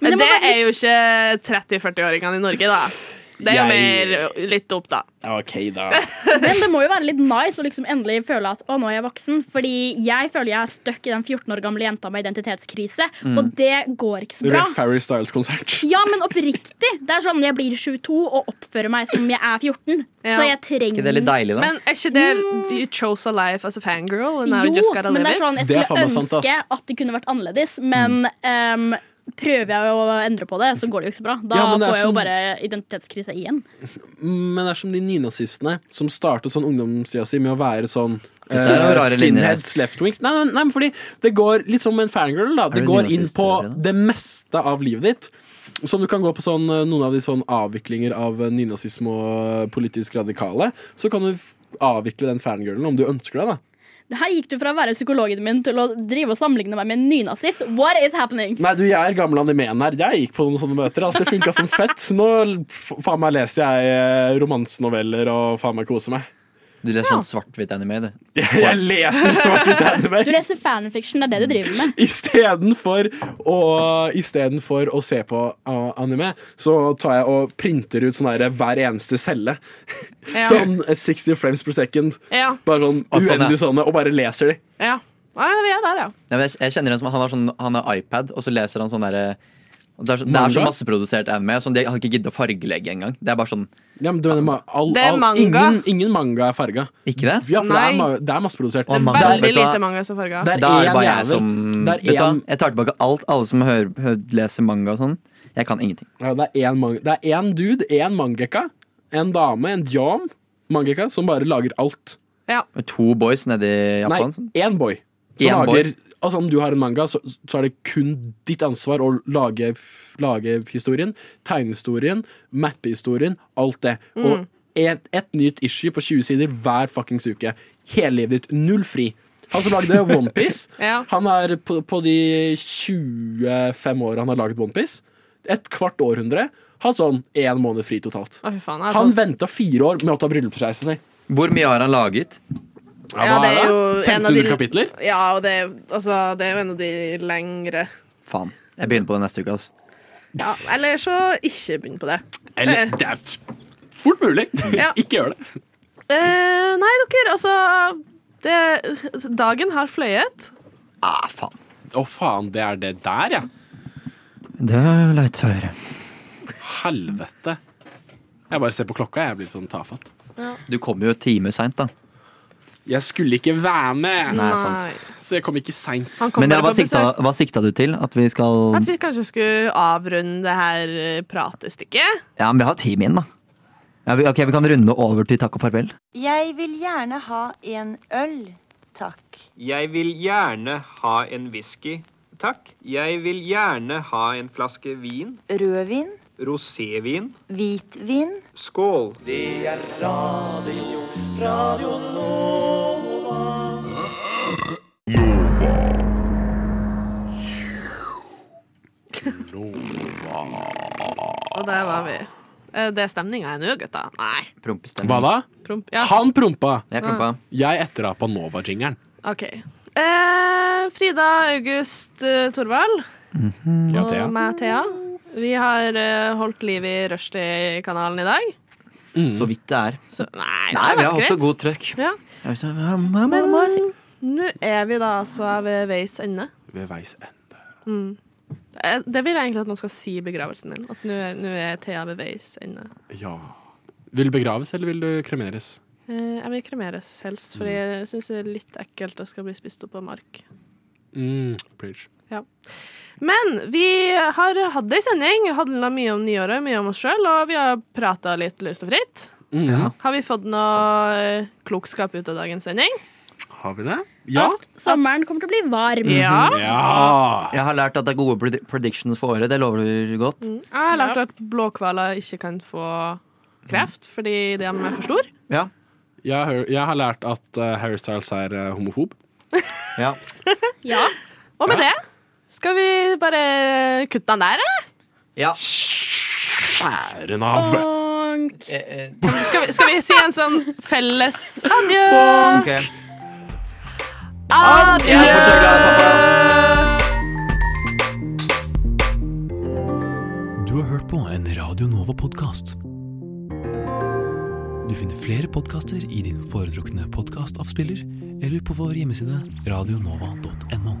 D: Men det er jo ikke 30-40-åringene i Norge, da. Det er jo
K: Jeg-
D: mer litt opp, da.
K: OK, da.
F: Men det må jo være litt nice å liksom endelig føle at å, nå er jeg voksen. Fordi jeg føler jeg er stuck i den 14 år gamle jenta med identitetskrise.
K: Mm.
F: Og det går ikke så bra.
K: Red Farry Styles-konsert.
F: Ja, men oppriktig. Det er sånn jeg blir 22 og oppfører meg som jeg er 14. Så jeg trenger
A: Ikke det litt deilig, da?
D: Men er ikke det You chose a life as a fangirl? And now you
F: Mm. Jo,
D: just gotta
F: men det er
D: live it.
F: sånn, jeg
K: Det er
F: skulle
K: faen meg sant,
F: ønske
K: ass. Mm.
F: at det kunne vært annerledes, men ehm, prøver jeg å endre på det, så går det jo ikke så bra. Da
K: Ja, men det er
F: får jeg jo
K: sånn-
F: bare identitetskrise igjen.
K: Men det er som de nynazistene som startet sånn ungdomstida si med å være sånn
A: Dette er jo
K: eh,
A: rare linjer her.
K: skinheads, leftwings nei, nei, nei, men fordi det går litt som en fangirl. da Det
A: du
K: går inn
A: nynazist,
K: på
A: eller,
K: det meste av livet ditt. Som du kan gå på sånn, eh, noen av de sånn avviklinger av eh, nynazisme og eh, politisk radikale. Så kan du f- avvikle den fangirlen om du ønsker det. da
F: Her gikk du fra å være psykologen min til å drive og sammenligne meg med en nynazist. What is happening?
K: Nei, du, jeg er gammel animen her. Jeg gikk på noen sånne møter. Altså, det funka som fett. Nå f- faen meg leser jeg eh, romansenoveller og faen meg koser meg.
A: Du leser sånn svart-hvitt anime, du.
K: Jeg leser svart-hvitt anime.
F: Du leser fanfiction, det er det du driver med.
K: Istedenfor å, istedenfor å se på uh, anime, så tar jeg og printer ut sånn her hver eneste celle.
D: Ja.
K: Sånn eh, 60 frames per second.
D: Ja.
K: Bare sånn
A: Og sånn, ja.
K: uendelig sånne, og bare leser de.
D: Ja. ja, vi er der, ja.
A: Nei, men jeg, jeg kjenner en som han har, sånn, han har iPad, og så leser han sånn derre og det er, så, det er så
K: Manga?
A: masseprodusert anime. Sånn, de har ikke giddet å fargelegge engang. Det er bare sånn
K: Ja, men du mener, ma- all,
D: Det er
K: all,
D: manga.
K: Ingen, ingen manga er farga.
A: Ikke det?
K: Ja, for det
D: Nei.
K: er, ma- det er masseprodusert.
A: Og manga-
D: Veldig
A: vet du hva?
D: lite mange som farger.
K: Det er
A: Da er
K: én
A: det bare jeg
K: jævel.
A: som
K: Det er
A: Vet du hva,
K: én-
A: Jeg tar tilbake alt. Alle som hører, hører, leser manga og sånn. Jeg kan ingenting.
K: Ja, det er én manga- det er én dude, én mangeka, en dame, en yam mangeka, som bare lager alt.
A: Med To boys nede i Japan. sånn.
K: Nei, én boy. Som
A: Én boy.
K: lager, altså Om du har en manga, så, så er det kun ditt ansvar å lage, lage historien, tegnehistorien, mappehistorien, alt det.
D: Mm.
K: Og et, et nytt issue på 20 sider hver fuckings uke. Hele livet ditt. Null fri. Han som lagde Onepiece,
D: Ja.
K: han er på, på de 25 åra han har laget Onepiece, et kvart århundre, hatt sånn én måned fri totalt.
D: Å, fy faen. Jeg
K: Han venta fire år med å ta bryllupsreise si.
A: Hvor mye har han laget?
K: Ja, hva
D: det er jo en av de-
K: 1500 kapitler?
D: Ja, og det, er- altså, det er jo en av de lengre.
A: Faen. Jeg begynner på det neste uke. Altså.
D: Ja, eller så ikke begynn på det.
K: Eller, det er Fort mulig. Ikke gjør det.
D: Eh, nei, dere, altså det, Dagen har fløyet.
K: Ah, faen. Å, faen. Det er det der, ja.
A: Det er leit å høre.
K: Helvete. Jeg bare ser på klokka, jeg blir sånn tafatt.
A: Du kom jo en time seint, da.
K: Jeg skulle ikke være med,
A: Nei, sant.
K: så jeg kom ikke seint.
A: Men ja, hva, sikta, hva sikta du til? At vi skal
D: At vi kanskje skulle avrunde det her eh, pratestykket.
A: Ja, men vi har time igjen, da. Ja, vi, ok, Vi kan runde over til takk og farvel.
N: Jeg vil gjerne ha en øl, takk.
O: Jeg vil gjerne ha en whisky, takk. Jeg vil gjerne ha en flaske vin.
N: Rødvin,
O: Rosévin.
N: hvitvin.
O: Skål. Det er radio, radio
D: Og der var vi. Eh, Det er stemninga her nå, gutta. Nei.
K: Hva da?
D: Promp, ja.
K: Han prompa.
D: Jeg prompa.
K: Jeg etterapa Nova-jingeren.
D: OK. Eh, Frida, August, eh, Torvald
K: Ja,
D: og
K: Thea.
D: meg, Thea. Vi har eh, holdt liv i Rushdie-kanalen i dag.
K: Mm.
A: Så vidt det er.
D: nei,
A: nei, vi
D: det var
A: har hatt
D: greit.
A: det god trøkk.
D: Ja.
A: Jeg vet ikke, hva- hva- hva- hva-
D: Nå er vi da altså ved veis ende.
K: Ved veis ende.
D: Mm. Eh, Det vil jeg egentlig at noen skal si i begravelsen min. At nå er- nå er Thea ved veis ende.
K: Ja. Vil du begraves, eller vil du kremeres?
D: Eh, Jeg vil kremeres helst, for
A: Mm.
D: jeg syns det er litt ekkelt å skal bli spist opp av mark.
K: Mm, preach.
D: Ja. Men vi har hatt ei sending, handla mye om nyåret, mye om oss sjøl, og vi har prata litt løst og fritt.
A: Mm.
K: Ja.
D: Har vi fått noe eh, klokskap ut av dagens sending?
K: Har vi det? Ja.
F: Sommeren kommer til å bli varm.
A: Mhm. Jeg har lært at det er gode predi- predictions for året. Det lover du godt.
D: Jeg har lært at blåhvaler ikke kan få kreft fordi de er for stor.
A: Ja.
K: Jeg, har, jeg har lært at eh, Harry Styles er eh, homofob.
A: Ja.
D: Og med det skal vi bare kutte den der, eller?
A: Ja.
K: Skjære nav!
D: Skal vi, skal vi si en sånn felles adjø?
A: Ok.
D: Adjø!
R: Du har hørt på en Radio Nova-podkast. Du finner flere podkaster i din foretrukne podkastavspiller eller på vår hjemmeside radionova.no.